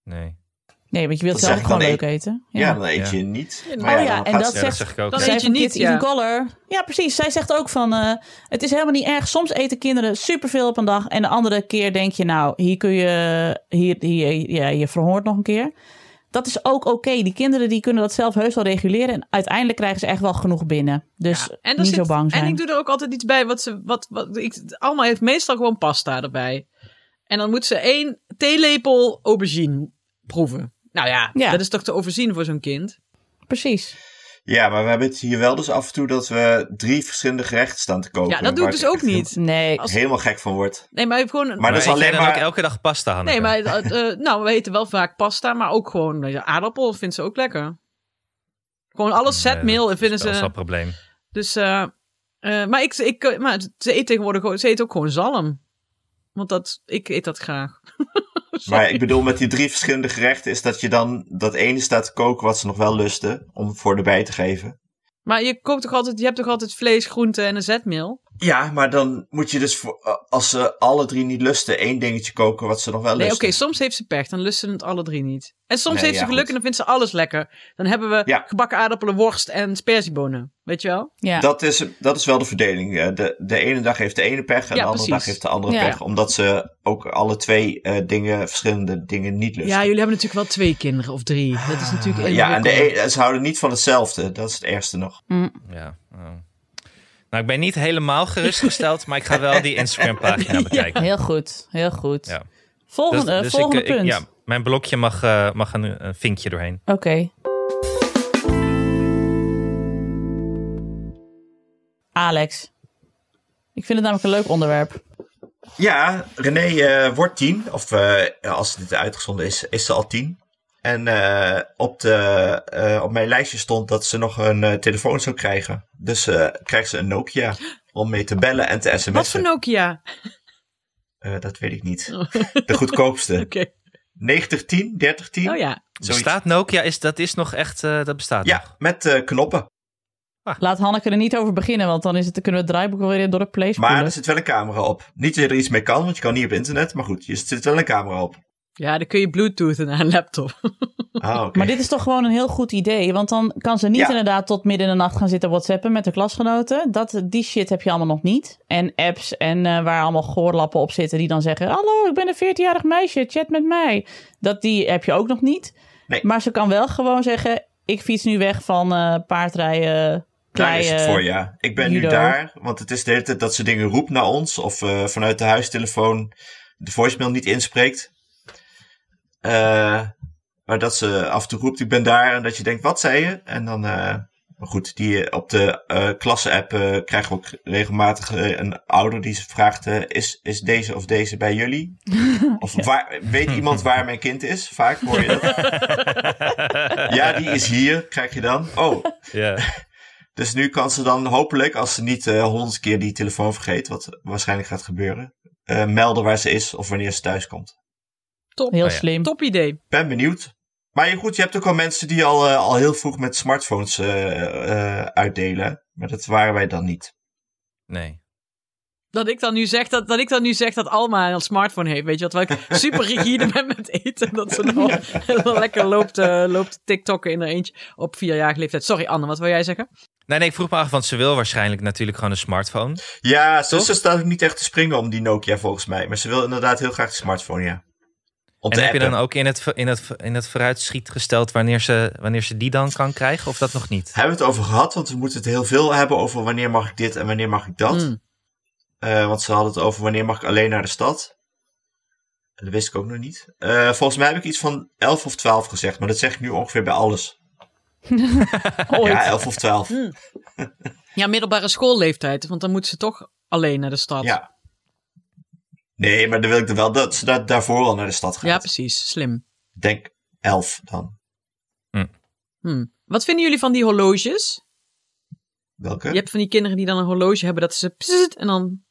Nee. Nee, want je wilt Dat zelf zeg ook ik gewoon dan leuk eten. Ja, dan eet je niet. Ja, Maar oh ja, dan en gaat dat ze- Ja, zegt- dat zeg ik ook. dat Zij eet je van niet, Kids ja. Even Color. Ja, precies. Zij zegt ook van... eh, het is helemaal niet erg. Soms eten kinderen superveel op een dag. En de andere keer denk je... Nou, hier kun je... Hier, hier, ja, je verhoort nog een keer. Dat is ook oké. Die kinderen die kunnen dat zelf heus wel reguleren. En uiteindelijk krijgen ze echt wel genoeg binnen. Dus Ja, en er niet zit- zo bang zijn. En ik doe er ook altijd iets bij. Wat ze, wat, wat, ik, Alma heeft meestal gewoon pasta erbij. En dan moet ze één theelepel aubergine proeven. Nou ja, Ja. dat is toch te overzien voor zo'n kind? Precies. Ja, maar we hebben het hier wel dus af en toe dat we drie verschillende gerechten staan te kopen. ja, dat doe ik waar dus echt ook niet. Nee. Als- Helemaal gek van word. Nee, maar gewoon een Maar dat is eet jij alleen dan maar- ook elke dag pasta, Hanneke? Nee, maar eh, eh, nou, we eten wel vaak pasta, maar ook gewoon eh, aardappel vindt ze ook lekker. Gewoon alles Nee, zetmeel dat vinden is wel zo'n ze. probleem. Dus, eh, eh, maar, ik, ik, eh, maar ze eet tegenwoordig gewoon, ze eet ook gewoon zalm. Want dat, ik eet dat graag. Maar ik bedoel, met die drie verschillende gerechten is dat je dan dat ene staat te koken wat ze nog wel lusten, om voor erbij te geven. Maar je, koopt toch altijd, je hebt toch altijd vlees, groente en een zetmeel? Ja, maar dan moet je dus, voor, eh, als ze alle drie niet lusten, één dingetje koken wat ze nog wel Nee, oké, lusten. soms heeft ze pech, dan lust ze het alle drie niet. En soms Nee, heeft ja, ze geluk goed. en dan vindt ze alles lekker. Dan hebben we Ja. gebakken aardappelen, worst en sperziebonen. Weet je wel? Ja. Dat is, dat is wel de verdeling. Eh, De, de ene dag heeft de ene pech en Ja, de andere dag precies. heeft de andere Ja. pech. Omdat ze ook alle twee eh, dingen, verschillende dingen niet lusten. Ja, jullie hebben natuurlijk wel twee kinderen of drie. Dat is natuurlijk Ja, en ingewikkeld. de, een- ze houden niet van hetzelfde. Dat is het ergste nog. Ja. oh. Nou, ik ben niet helemaal gerustgesteld, maar ik ga wel die [LAUGHS] Instagram-pagina bekijken. Heel goed. Heel goed. Ja. Volgende, Dus- dus ik- volgende ik- punt. ja, mijn blokje mag, eh, mag een, een vinkje doorheen. Oké. Alex. Ik vind het namelijk een leuk onderwerp. Ja, René eh, wordt tien. Of eh, als dit uitgezonden is, is ze al tien. En eh, op, de, eh, op mijn lijstje stond dat ze nog een eh, telefoon zou krijgen. Dus eh, krijgt ze een Nokia om mee te bellen en te sms'en. Wat voor Nokia? Eh, dat weet ik niet. [LAUGHS] De goedkoopste. Oh. Oké. 9010, 3010. Oh ja. zoiets. Bestaat Nokia? Is, dat is nog echt, eh, dat bestaat Ja, nog. met eh, knoppen. Laat Hanneke er niet over beginnen, want dan is het, dan kunnen we het draaiboek wel weer door de play Maar er spoelen. zit wel een camera op. Niet dat je er iets mee kan, want je kan niet op internet. Maar goed, er zit wel een camera op. Ja, dan kun je bluetoothen naar een laptop. Ah, oké. Maar dit is toch gewoon een heel goed idee, want dan kan ze niet Ja. inderdaad tot midden in de nacht gaan zitten whatsappen met de klasgenoten. Dat, die shit heb je allemaal nog niet. En apps en eh, waar allemaal goorlappen op zitten die dan zeggen, hallo, ik ben een 14-jarig meisje, chat met mij. Dat die heb je ook nog niet. Nee. Maar ze kan wel gewoon zeggen, ik fiets nu weg van eh, paardrijden, Daar Nou, is het kleien, voor, ja. Ik ben judo. nu daar, want het is de hele tijd dat ze dingen roept naar ons. Of eh, vanuit de huistelefoon de voicemail niet inspreekt. Eh, maar dat ze af en toe roept, ik ben daar. En dat je denkt, wat zei je? En dan, eh, maar goed, die eh, op de eh klasse-app eh, krijgen we ook regelmatig eh, een ouder die ze vraagt... eh, is, is deze of deze bij jullie? Of waar, weet iemand waar mijn kind is? Vaak hoor je dat. ja, die is hier, krijg je dan. Oh, [LAUGHS] Ja. dus nu kan ze dan hopelijk, als ze niet eh, honderd keer die telefoon vergeet, wat waarschijnlijk gaat gebeuren, eh, melden waar ze is of wanneer ze thuis komt. Top. Heel Oh ja. [LAUGHS] slim. Top idee. Ben benieuwd. Maar je- goed, je hebt ook al mensen die al, eh, al heel vroeg met smartphones eh, eh, uitdelen. Maar dat waren wij dan niet. Nee. Dat ik dan nu zeg dat, dat, ik dan nu zeg dat Alma een smartphone heeft. Weet je wat? Terwijl ik [LAUGHS] super rigide ben met eten. Dat ze [LAUGHS] dan helemaal lekker loopt, eh, loopt TikTokken in haar eentje op vierjarige leeftijd. Sorry Anne, wat wil jij zeggen? Nee, nee, ik vroeg me af, want ze wil waarschijnlijk natuurlijk gewoon een smartphone. Ja, ze, Toch? ze staat ook niet echt te springen om die Nokia volgens mij. Maar ze wil inderdaad heel graag de smartphone, ja. Om en te heb je appen. dan ook in het, in het, in het vooruitschiet gesteld wanneer ze, wanneer ze die dan kan krijgen? Of dat nog niet? Hebben we het over gehad, want we moeten het heel veel hebben over wanneer mag ik dit en wanneer mag ik dat. Hmm. Mm. Eh, want ze hadden het over wanneer mag ik alleen naar de stad. En dat wist ik ook nog niet. Eh, volgens mij heb ik iets van 11 of 12 gezegd, maar dat zeg ik nu ongeveer bij alles. Ooit. Ja, 11 of 12. Ja, middelbare schoolleeftijd. Want dan moet ze toch alleen naar de stad. Ja. Nee, maar dan wil ik er wel dat ze daar- daarvoor al naar de stad Ja, gaat. precies. Slim. Denk 11 dan. Hm. Wat vinden jullie van die horloges? Welke? Je hebt van die kinderen die dan een horloge hebben dat ze pssst, en dan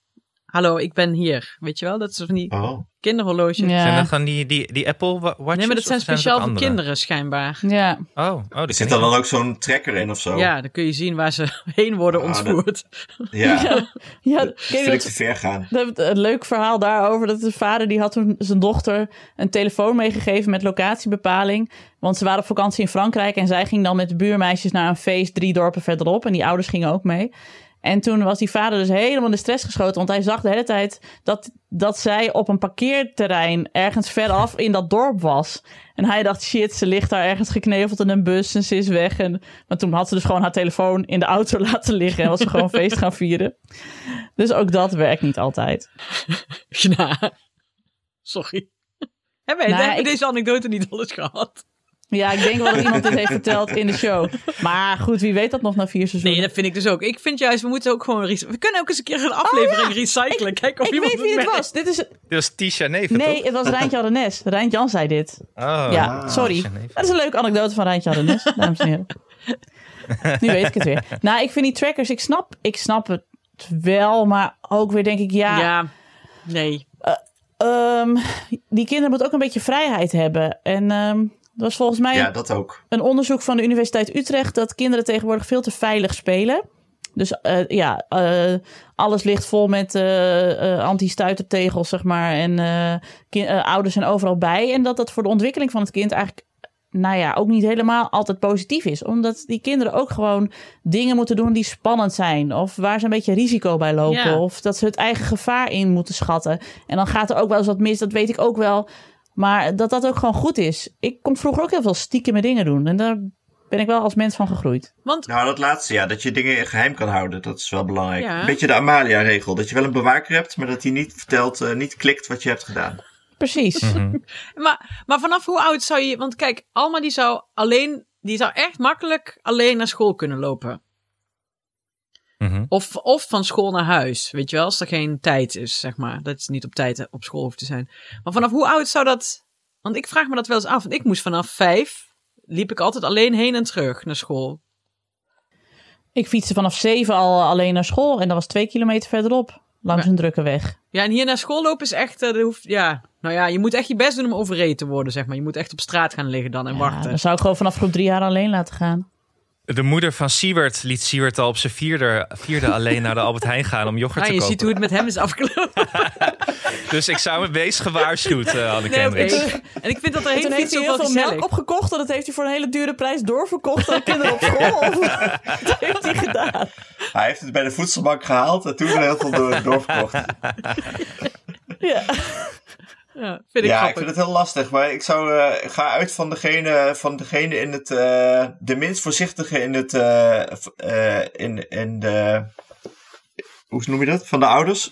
hallo, ik ben hier. Weet je wel? Dat is van die Oh. kinderhorloges. Ja. Zijn dat gewoon die, die, die Apple wa- Watches? Nee, maar dat zijn of speciaal ook voor andere? kinderen schijnbaar. Ja. Oh, oh dat Zit er dan ook zo'n tracker in of zo? Ja, dan kun je zien waar ze [LAUGHS] heen worden Oh. Ah, dat- ontvoerd. Ja. [LAUGHS] Ja, Dat ken je vind ik dat- te ver gaan. dat- Een leuk verhaal daarover. Dat de vader die had toen zijn dochter een telefoon meegegeven met locatiebepaling. Want ze waren op vakantie in Frankrijk. En zij ging dan met de buurmeisjes naar een feest drie dorpen verderop. En die ouders gingen ook mee. En toen was die vader dus helemaal in de stress geschoten. Want hij zag de hele tijd dat, dat zij op een parkeerterrein ergens veraf in dat dorp was. En hij dacht, shit, ze ligt daar ergens gekneveld in een bus en ze is weg. En, maar toen had ze dus gewoon haar telefoon in de auto [LAUGHS] laten liggen. En was ze gewoon feest gaan vieren. Dus ook dat werkt niet [LAUGHS] altijd. Ja. Sorry. Hebben wij Nou, hebben we ik- deze anekdote niet alles gehad? Ja, ik denk wel dat iemand dit heeft verteld in de show. Maar goed, wie weet dat nog na vier seizoenen. Nee, dat vind ik dus ook. Ik vind juist, we moeten ook gewoon... rec- We kunnen ook eens een keer een aflevering recyclen. Kijken of ik iemand weet wie dit merkt. was. Dit is... Dit was Tisha Neven, Nee, toch? het was Rijntje Arnes. Rijnt Jan zei dit. Oh, ja, sorry. Tisha Neven. Dat is een leuke anekdote van Rijntje Arnes, dames en heren. Nu weet ik het weer. Nou, ik vind die trackers, ik snap, ik snap het wel, maar ook weer denk ik, ja, Ja, nee. ehm, die kinderen moeten ook een beetje vrijheid hebben. En ehm dat was volgens mij Ja, dat ook. een onderzoek van de Universiteit Utrecht dat kinderen tegenwoordig veel te veilig spelen. Dus eh, ja, eh, alles ligt vol met eh eh anti-stuitertegels, zeg maar. En eh, ki- eh, ouders zijn overal bij. En dat dat voor de ontwikkeling van het kind eigenlijk, nou ja, ook niet helemaal altijd positief is. Omdat die kinderen ook gewoon dingen moeten doen die spannend zijn. Of waar ze een beetje risico bij lopen. Ja. Of dat ze het eigen gevaar in moeten schatten. En dan gaat er ook wel eens wat mis, dat weet ik ook wel. Maar dat dat ook gewoon goed is. Ik kon vroeger ook heel veel stiekeme dingen doen. En daar ben ik wel als mens van gegroeid. Want Nou, dat laatste, ja. Dat je dingen geheim kan houden, dat is wel belangrijk. Ja. Een beetje de Amalia-regel. Dat je wel een bewaker hebt, maar dat hij niet vertelt, eh, niet klikt wat je hebt gedaan. Precies. Maar, maar vanaf hoe oud zou je. Want kijk, Alma die zou alleen. Die zou echt makkelijk alleen naar school kunnen lopen. Mhm. Of, of van school naar huis. Weet je wel, als er geen tijd is, zeg maar. Dat is niet op tijd eh, op school hoeft te zijn. Maar vanaf hoe oud zou dat. Want ik vraag me dat wel eens af. Want ik moest vanaf vijf. liep ik altijd alleen heen en terug naar school. Ik fietste vanaf zeven al alleen naar school. En dat was twee kilometer verderop. Langs Ja. een drukke weg. Ja, en hier naar school lopen is echt. eh, dat hoeft, ja, nou ja, je moet echt je best doen om overreden te worden, zeg maar. Je moet echt op straat gaan liggen dan en Ja, wachten. dan zou ik gewoon vanaf groep drie jaar alleen laten gaan. De moeder van Siewert liet Siewert al op zijn vierde, [LAUGHS] vierde alleen naar de Albert Heijn gaan om yoghurt Ah, te je kopen. ziet hoe het met hem is afgelopen. Dus ik zou me wees gewaarschuwd, eh Anne Nee, oké. Kendricks. En ik vind dat er En toen helemaal heeft niet hij heel zoveel veel gezellig. melk opgekocht. En dat heeft hij voor een hele dure prijs doorverkocht [LAUGHS] aan kinderen op school. [LAUGHS] dat heeft hij gedaan. Hij heeft het bij de voedselbank gehaald en toen heel veel [LAUGHS] door, doorverkocht. Ja. Ja, vind ik ja, ik grappig. vind het heel lastig. Maar ik zou, eh, ga uit van degene, van degene in het, eh, de minst voorzichtige in het, eh, v- eh, in, in de, hoe noem je dat? Van de ouders.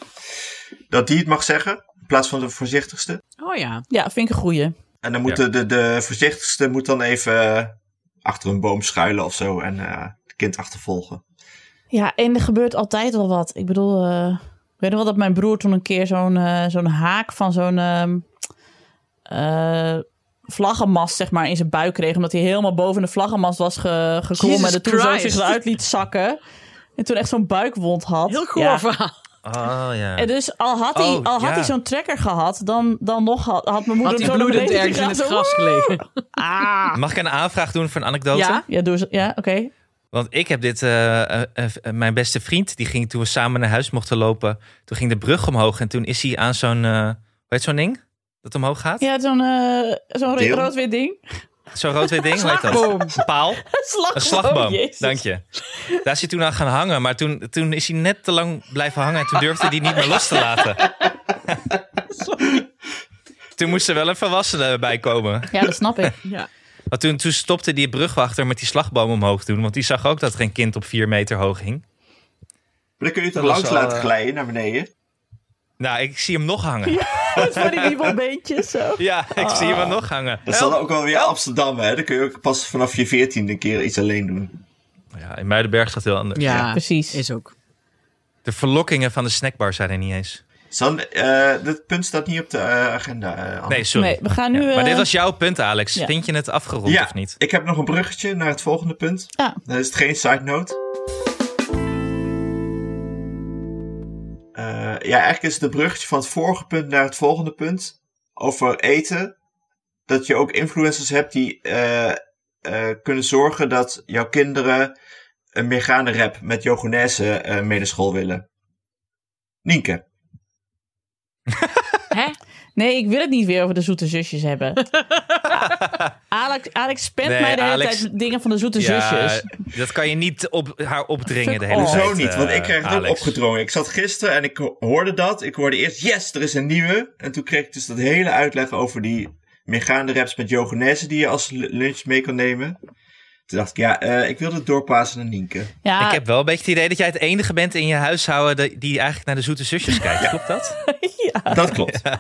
Dat die het mag zeggen, in plaats van de voorzichtigste. Oh ja. ja, vind ik een goeie. En dan moet Ja. de, de, de voorzichtigste moet dan even eh, achter een boom schuilen of zo en eh, het kind achtervolgen. Ja, en er gebeurt altijd wel wat. Ik bedoel, eh, ik weet nog wel dat mijn broer toen een keer zo'n eh, zo'n haak van zo'n ehm, eh, vlaggenmast, zeg maar, in zijn buik kreeg. Omdat hij helemaal boven de vlaggenmast was ge geklommen. Jesus en toen zo Christ. zich eruit liet zakken. En toen echt zo'n buikwond had. Heel goor Ja, verhaal. Oh ja. En dus al had hij, Oh, al had ja. hij zo'n trekker gehad, dan, dan nog had, had mijn moeder Had hij hem zo naar bloedend beneden ergens in het gegaan, zo, gras gelegen? Ah. [LAUGHS] Mag ik een aanvraag doen voor een anekdote? Ja? Ja, doe ze. Ja, oké. Want ik heb dit, eh, eh, eh, mijn beste vriend, die ging toen we samen naar huis mochten lopen. Toen ging de brug omhoog en toen is hij aan zo'n, eh hoe heet zo'n ding? Dat omhoog gaat? Ja, zo'n eh, zo'n Deel? rood-wit ding. [LAUGHS] Zo'n rood-wit ding, hoe heet dat? Slagboom. Een paal? Slagboom. Een slagboom, Oh, Jezus. dank je. Daar is hij toen aan gaan hangen, maar toen, toen is hij net te lang blijven hangen en toen durfde hij niet meer los te laten. toen moest er wel een volwassene bij komen. Ja, dat snap ik. Ja. Maar toen, toen stopte die brugwachter met die slagboom omhoog doen, want die zag ook dat er een kind op vier meter hoog hing. Maar dan kun je het dan Dat langs was wel, laten eh, glijden naar beneden. Nou, ik zie hem nog hangen. Ja, Met van die wiebelbeentjes zo. ik zie Oh. hem nog hangen. Dat is dan ook wel weer Amsterdam, hè? Dan kun je ook pas vanaf je veertiende een keer iets alleen doen. Ja, in Muidenberg is dat heel anders. Ja, Precies. Is ook. De verlokkingen van de snackbar zijn er niet eens. San, eh, dat punt staat niet op de eh, agenda. eh, Anne. Nee, sorry. Oh. Nee, we gaan nu... Ja, maar eh, dit was jouw punt, Alex. ja. Vind je het afgerond ja, of niet? ik heb nog een bruggetje naar het volgende punt. Ja. Dan Nou, is het geen side note. Eh, ja, eigenlijk is het een bruggetje van het vorige punt naar het volgende punt. Over eten. Dat je ook influencers hebt die eh, eh, kunnen zorgen dat jouw kinderen een Megane rap met Jogonese eh mee naar school willen. Nienke. Hè? Nee, ik wil het niet weer over de zoete zusjes hebben. Alex, Alex spent Nee, mij de hele Alex- tijd dingen van de zoete zusjes. dat kan je niet op haar opdringen Fuck de hele off. tijd. Hoezo niet? Want ik eh, kreeg het ook Alex. opgedrongen. Ik zat gisteren en ik ho- hoorde dat. Ik hoorde eerst, yes, er is een nieuwe. En toen kreeg ik dus dat hele uitleg over die meegaande raps met Jogenese die je als lu- lunch mee kan nemen. Toen dacht ik, ja, eh, ik wilde het doorpassen naar Nienke. Ja, Ik [LAUGHS] heb wel een beetje het idee dat jij het enige bent in je huishouden dat- die eigenlijk naar de zoete [LAUGHS] zusjes kijkt. Klopt dat? Dat klopt. [LAUGHS]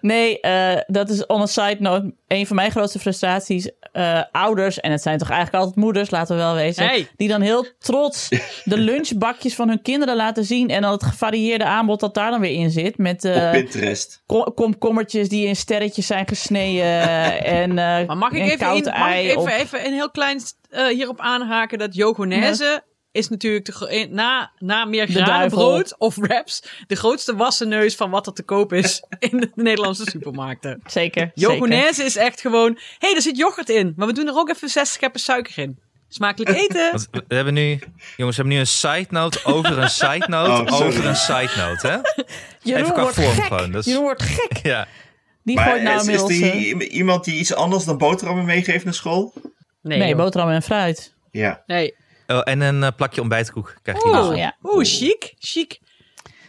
Nee, eh, dat is on a side note. Een van mijn grootste frustraties. eh, ouders, en het zijn toch eigenlijk altijd moeders, laten we wel wezen. Hey. Die dan heel trots de lunchbakjes van hun kinderen laten zien. En dan het gevarieerde aanbod dat daar dan weer in zit. Met eh, Op Pinterest. kom- komkommertjes die in sterretjes [LAUGHS] zijn gesneden. en, eh, Maar mag ik een even, koud in- mag ei ik even, op- even een heel klein eh, hierop aanhaken dat Jogonese is natuurlijk de, gro- eh, na, na meer granenbrood of wraps de grootste wassenneus van wat er te koop is [LAUGHS] in de Nederlandse supermarkten. Zeker. zeker. Jogonese is echt gewoon, hé, hey, er zit yoghurt in, maar we doen er ook even zes scheppen suiker in. Smakelijk eten. [LAUGHS] Want we we hebben nu, jongens, we hebben nu een side note over een [LAUGHS] side note Oh, sorry. over een side note, hè? Jeroen Even qua wordt vorm gek. gewoon, dus- dat is- Jeroen wordt gek. Ja. Die Maar gooit nou is, is inmiddels... er eh, hier i- iemand die iets anders dan boterhammen meegeeft naar school? Nee, nee, joh. boterham en fruit. Ja. nee. Oh, en een eh, plakje ontbijtkoek krijg je Oeh, dus. Oh, ja. oeh, chic, chic.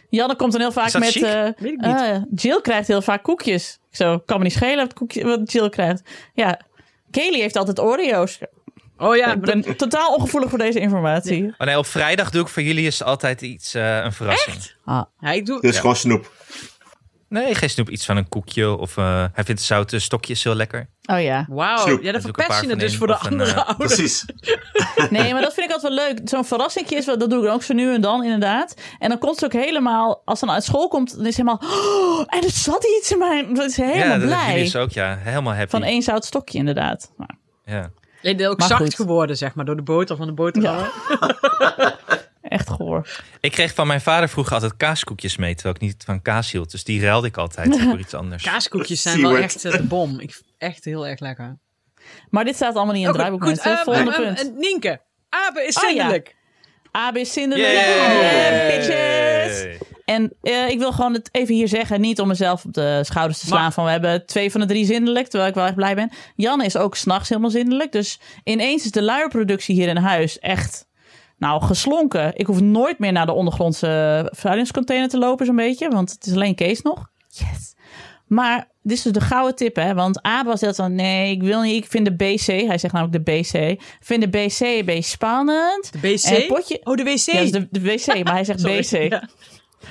Janne komt dan heel vaak Is dat met. chic? eh, Weet ik niet. ah, Jill krijgt heel vaak koekjes. Ik zo, kan me niet schelen wat, koekje, wat Jill krijgt. Ja, Kelly heeft altijd Oreo's. Oh ja, ik maar dat- ben totaal ongevoelig voor deze informatie. Oh nee, op vrijdag doe ik voor jullie is altijd iets, eh, een verrassing. Ah, ja, ik doe, Dus gewoon snoep. Nee, geen snoep. Iets van een koekje of eh, hij vindt zoute stokjes heel lekker. oh ja. wauw, Snoep. ja, dan doe ik een verpest paar je van het dus in, voor de of een, andere eh, ouders. Precies. Nee, maar dat vind ik altijd wel leuk. Zo'n verrassingje is wel, dat doe ik dan ook zo nu en dan inderdaad. En dan komt ze ook helemaal, als ze dan uit school komt, dan is ze helemaal. Oh, en er zat iets in mijn. Dat is helemaal ja, dat hebben blij. jullie dus ook, ja. Helemaal happy. Van één zout stokje inderdaad. Nou, ja. Ik ben ook Maar zacht goed. geworden, zeg maar, door de boter van de boterham. ja. Echt goor. Ik kreeg van mijn vader vroeger altijd kaaskoekjes mee, terwijl ik niet van kaas hield. Dus die ruilde ik [LAUGHS] altijd voor iets anders. Kaaskoekjes [LAUGHS] zijn Seward. wel echt eh, de bom. Ik, echt heel erg lekker. Maar dit staat allemaal niet in het Oh, draaiboek. mensen. ehm, Volgende ehm, punt. ehm, Nienke, apen is Oh, ja. zindelijk. AB Cinderella. Yay! Yeah, bitches. En eh, ik wil gewoon het even hier zeggen. Niet om mezelf op de schouders te slaan. Maar- van we hebben twee van de drie zindelijk. Terwijl ik wel echt blij ben. Jan is ook s'nachts helemaal zindelijk. Dus ineens is de luierproductie hier in huis echt. Nou, geslonken. Ik hoef nooit meer naar de ondergrondse verhuidingscontainer te lopen, zo'n beetje. Want het is alleen Kees nog. Yes. Maar dit is dus de gouden tip, hè? Want A was dat van nee, ik wil niet. Ik vind de BC. Hij zegt namelijk de BC. Ik vind de BC een beetje spannend. De BC? En het potje- Oh, de WC. Ja, dat is de, de WC, maar hij [LAUGHS] zegt Sorry. BC. Ja.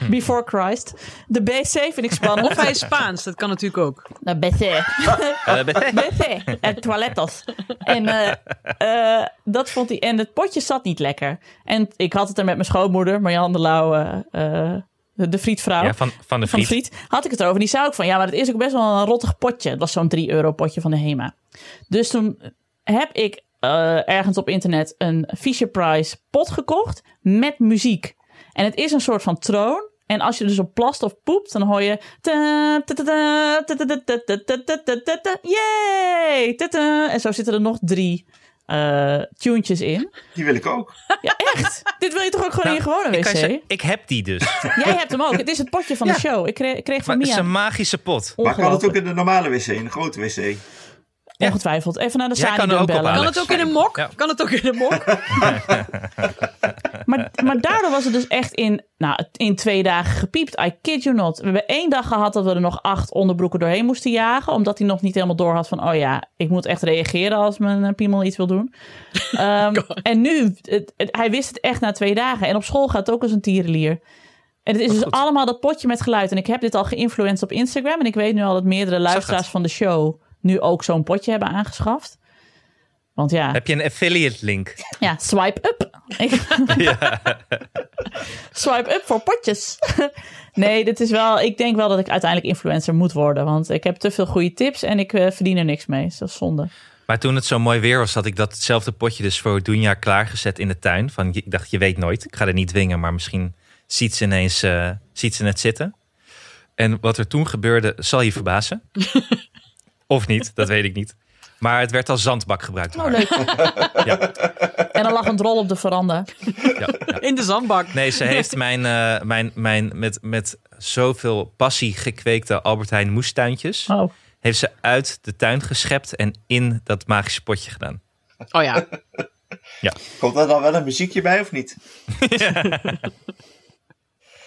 Before Christ. De BC vind ik spannend. [LAUGHS] Of hij is Spaans, dat kan natuurlijk ook. De BC. [LAUGHS] Eh, BC. En toilettas. En eh, eh, dat vond hij. En het potje zat niet lekker. En ik had het er met mijn schoonmoeder, Marjan de Lauw, eh, eh, de, de frietvrouw. ja, van, van de van friet. Friet, had ik het over. Die zei ook van, ja, maar het is ook best wel een rottig potje. Het was zo'n 3 euro potje van de HEMA. Dus toen heb ik eh, ergens op internet een Fisher Price pot gekocht met muziek. En het is een soort van troon. En als je dus op plast of poept, dan hoor je. ta, ta, ta, ta, ta, ta, ta, ta, ta, ta, ta, ta, ta, Yay! Ta, ta. En zo zitten er nog drie eh tunetjes in. Die wil ik ook. Ja, [LAUGHS] echt. Dit wil je toch ook gewoon Nou, in je gewone ik, kan je wc? zeggen, ik heb die [LAUGHS] dus. Jij hebt hem ook. Het is het potje van de show. Ik kreeg, ik kreeg Maar van het is Mia. een magische pot. Maar kan het ook Ongelooflijk. in de normale wc, in de grote wc? Ongetwijfeld. Even naar de Jij kan er Sanidum ook op bellen. aan. Kan Alex. het ook in een mok? Ja. Kan het ook in een mok? Maar, maar daardoor was het dus echt in, nou, in twee dagen gepiept. I kid you not. We hebben één dag gehad dat we er nog acht onderbroeken doorheen moesten jagen. Omdat hij nog niet helemaal door had van... oh ja, ik moet echt reageren als mijn eh, piemel iets wil [LAUGHS] doen. Ehm, en nu, het- het- hij wist het echt na twee dagen. En op school gaat het ook als een tierenlier. En het is dus goed. allemaal dat potje met geluid. En ik heb dit al geïnfluenced op Instagram. En ik weet nu al dat meerdere luisteraars het. van de show... nu ook zo'n potje hebben aangeschaft. Want ja... Heb je een affiliate link? Ja, swipe [LAUGHS] up. Swipe up voor potjes. nee, dit is wel, ik denk wel dat ik uiteindelijk influencer moet worden. Want ik heb te veel goede tips en ik eh, verdien er niks mee. Dus dat is zonde. Maar toen het zo mooi weer was, had ik datzelfde potje dus voor Dunja klaargezet in de tuin. Van, je- ik dacht, je weet nooit. Ik ga er niet dwingen, maar misschien ziet ze ineens eh, ziet ze het zitten. En wat er toen gebeurde, zal je verbazen. [LAUGHS] of niet, dat weet ik niet. Maar het werd als zandbak gebruikt. door Oh, haar. leuk. En dan lag een rol op de veranda. Ja, [LAUGHS] ja. In de zandbak. Nee, ze heeft mijn, eh, mijn, mijn met, met zoveel passie gekweekte Albert Heijn moestuintjes... Oh, heeft ze uit de tuin geschept en in dat magische potje gedaan. Oh ja. Komt daar dan wel een muziekje bij of niet?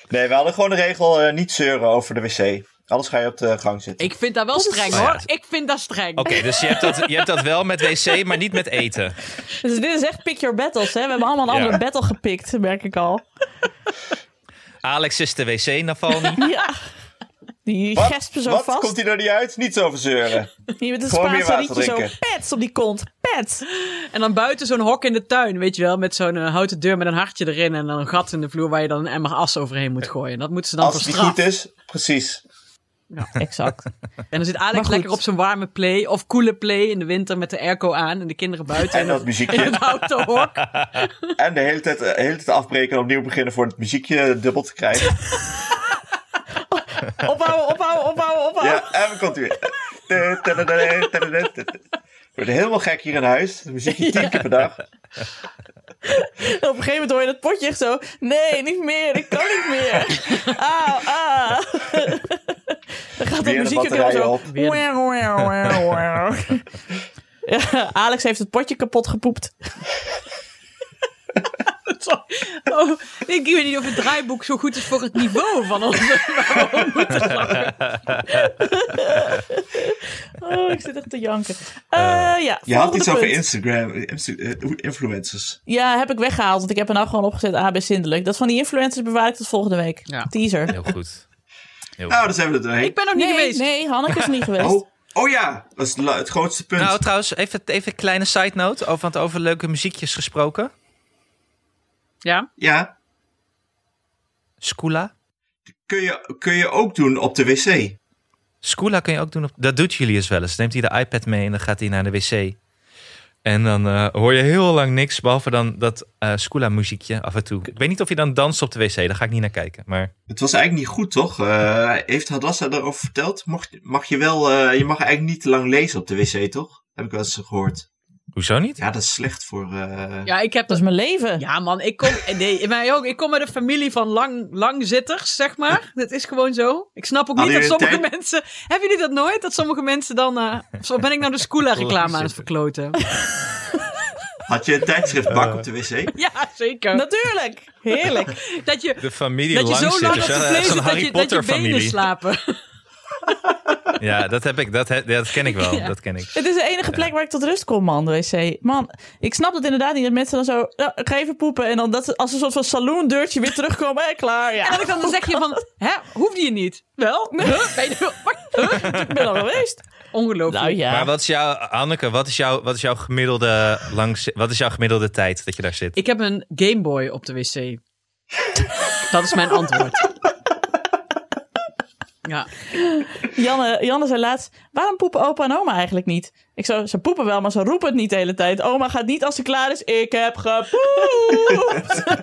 nee, we hadden gewoon de regel eh, niet zeuren over de wc. Anders ga je op de gang zitten. Ik vind dat wel streng Oh ja. hoor. Ik vind dat streng. [LAUGHS] Oké, dus je hebt, dat, je hebt dat wel met wc, maar niet met eten. dus dit is echt pick your battles, hè? We hebben allemaal een Ja. andere battle gepikt, merk ik al. Alex is de wc, Navalny. Ja. Die Wat? gespen zo Wat? vast. Komt hij er niet uit? Niet [LAUGHS] zo verzeuren. Hier met een Gewoon meer Spaanse water rietje zo. drinken. Pets op die kont. Pets. En dan buiten zo'n hok in de tuin, weet je wel, met zo'n eh, houten deur met een hartje erin en dan een gat in de vloer waar je dan een emmer as overheen moet gooien. Dat moeten ze dan Als voor het niet straf. goed is, precies. Exact. En dan zit Maar Alex goed. lekker op zijn warme play of koele play in de winter met de airco aan en de kinderen buiten En dat in het [LAUGHS] muziekje. houten hok. [LAUGHS] En de hele tijd, eh, de hele tijd afbreken en opnieuw beginnen voor het muziekje dubbel te [LAUGHS] krijgen. Ophouden, ophouden, ophouden, ophouden. Ja, en we komt weer. [LAUGHS] We worden helemaal gek hier in huis. Het muziekje [LAUGHS] tien keer per dag. En op een gegeven moment hoor je dat potje echt zo... Nee, niet meer. Ik kan niet meer. Au, ah. Dan gaat dat Weer de muziekje ook batterijen helemaal op. zo... Wauw, wauw, wauw, wauw. Ja, Alex heeft het potje kapot gepoept. Zo. Oh, ik weet niet of het draaiboek zo goed is voor het niveau van onze. waar we om moeten lachen. Oh, ik zit echt te janken. Eh, ja, Je volgende had iets over punt. Instagram, eh, inst- eh, influencers. Ja, heb ik weggehaald, want ik heb er nou gewoon opgezet. AB zindelijk. Dat van die influencers bewaar ik tot volgende week. Ja. Teaser. [LAUGHS] Heel goed. Heel Nou, goed. daar zijn we er doorheen. Ik ben nog niet nee, geweest. nee, Hanneke is niet geweest. Oh, oh ja, dat is het la- het grootste punt. Nou, trouwens, even even een kleine side note. Over, want over leuke muziekjes gesproken. Ja? ja, Skoola. kun je, kun je ook doen op de wc. Skoola kun je ook doen. Op, dat doet Julius wel eens. Neemt hij de iPad mee en dan gaat hij naar de wc. En dan eh, hoor je heel lang niks, behalve dan dat eh Skoola muziekje af en toe. Ik weet niet of je dan danst op de wc, daar ga ik niet naar kijken. Maar Het was eigenlijk niet goed, toch? Eh, heeft Hadassa daarover verteld? Mocht, mag je wel, eh, je mag eigenlijk niet te lang lezen op de wc, toch? Heb ik wel eens gehoord. hoezo niet? Ja, dat is slecht voor... eh, Ja, ik heb Dat is mijn leven. Ja, man, ik kom, nee, mij ook, ik kom uit een familie van lang, langzitters, zeg [LAUGHS] maar. Dat is gewoon zo. Ik snap ook niet dat Annuïteit. sommige mensen. Hebben jullie dat nooit? Dat sommige mensen dan. eh, zo ben ik nou de Scoola-reclame aan het verkloten? Had je een tijdschriftbak op de wc? [LAUGHS] Ja, zeker. Dat, Natuurlijk. Heerlijk. je, De familie dat je zo lang op langzitters. de Ja, vlees zit Zo'n dat Harry je, dat je Potter benen familie. [LAUGHS] slapen. Ja, dat heb ik. Dat, he- dat ken ik [LAUGHS] wel. Ja. Dat ken ik. Het is de enige plek waar ik tot rust kom, man, de wc. Man, ik snap dat inderdaad niet. Dat mensen dan zo, ja, ik ga even poepen. En dan dat ze als een soort van saloon-deurtje weer terugkomen. Hé, klaar, En ja. dat ik dan zeg je van, hè, hoefde je niet? [LAUGHS] Wel? Huh? Ben je- wat? Huh? Ik ben al geweest. Ongelooflijk. Nou ja. Maar wat is jouw, Anneke, wat is, jouw, wat is jouw gemiddelde langs, wat is jouw gemiddelde tijd dat je daar zit? Ik heb een Game Boy op de wc. dat is mijn antwoord. Ja. Janne, Janne zei laatst, waarom poepen opa en oma eigenlijk niet? Ik zo, ze poepen wel, maar ze roepen het niet de hele tijd. Oma gaat niet als ze klaar is, ik heb gepoept. [LAUGHS] en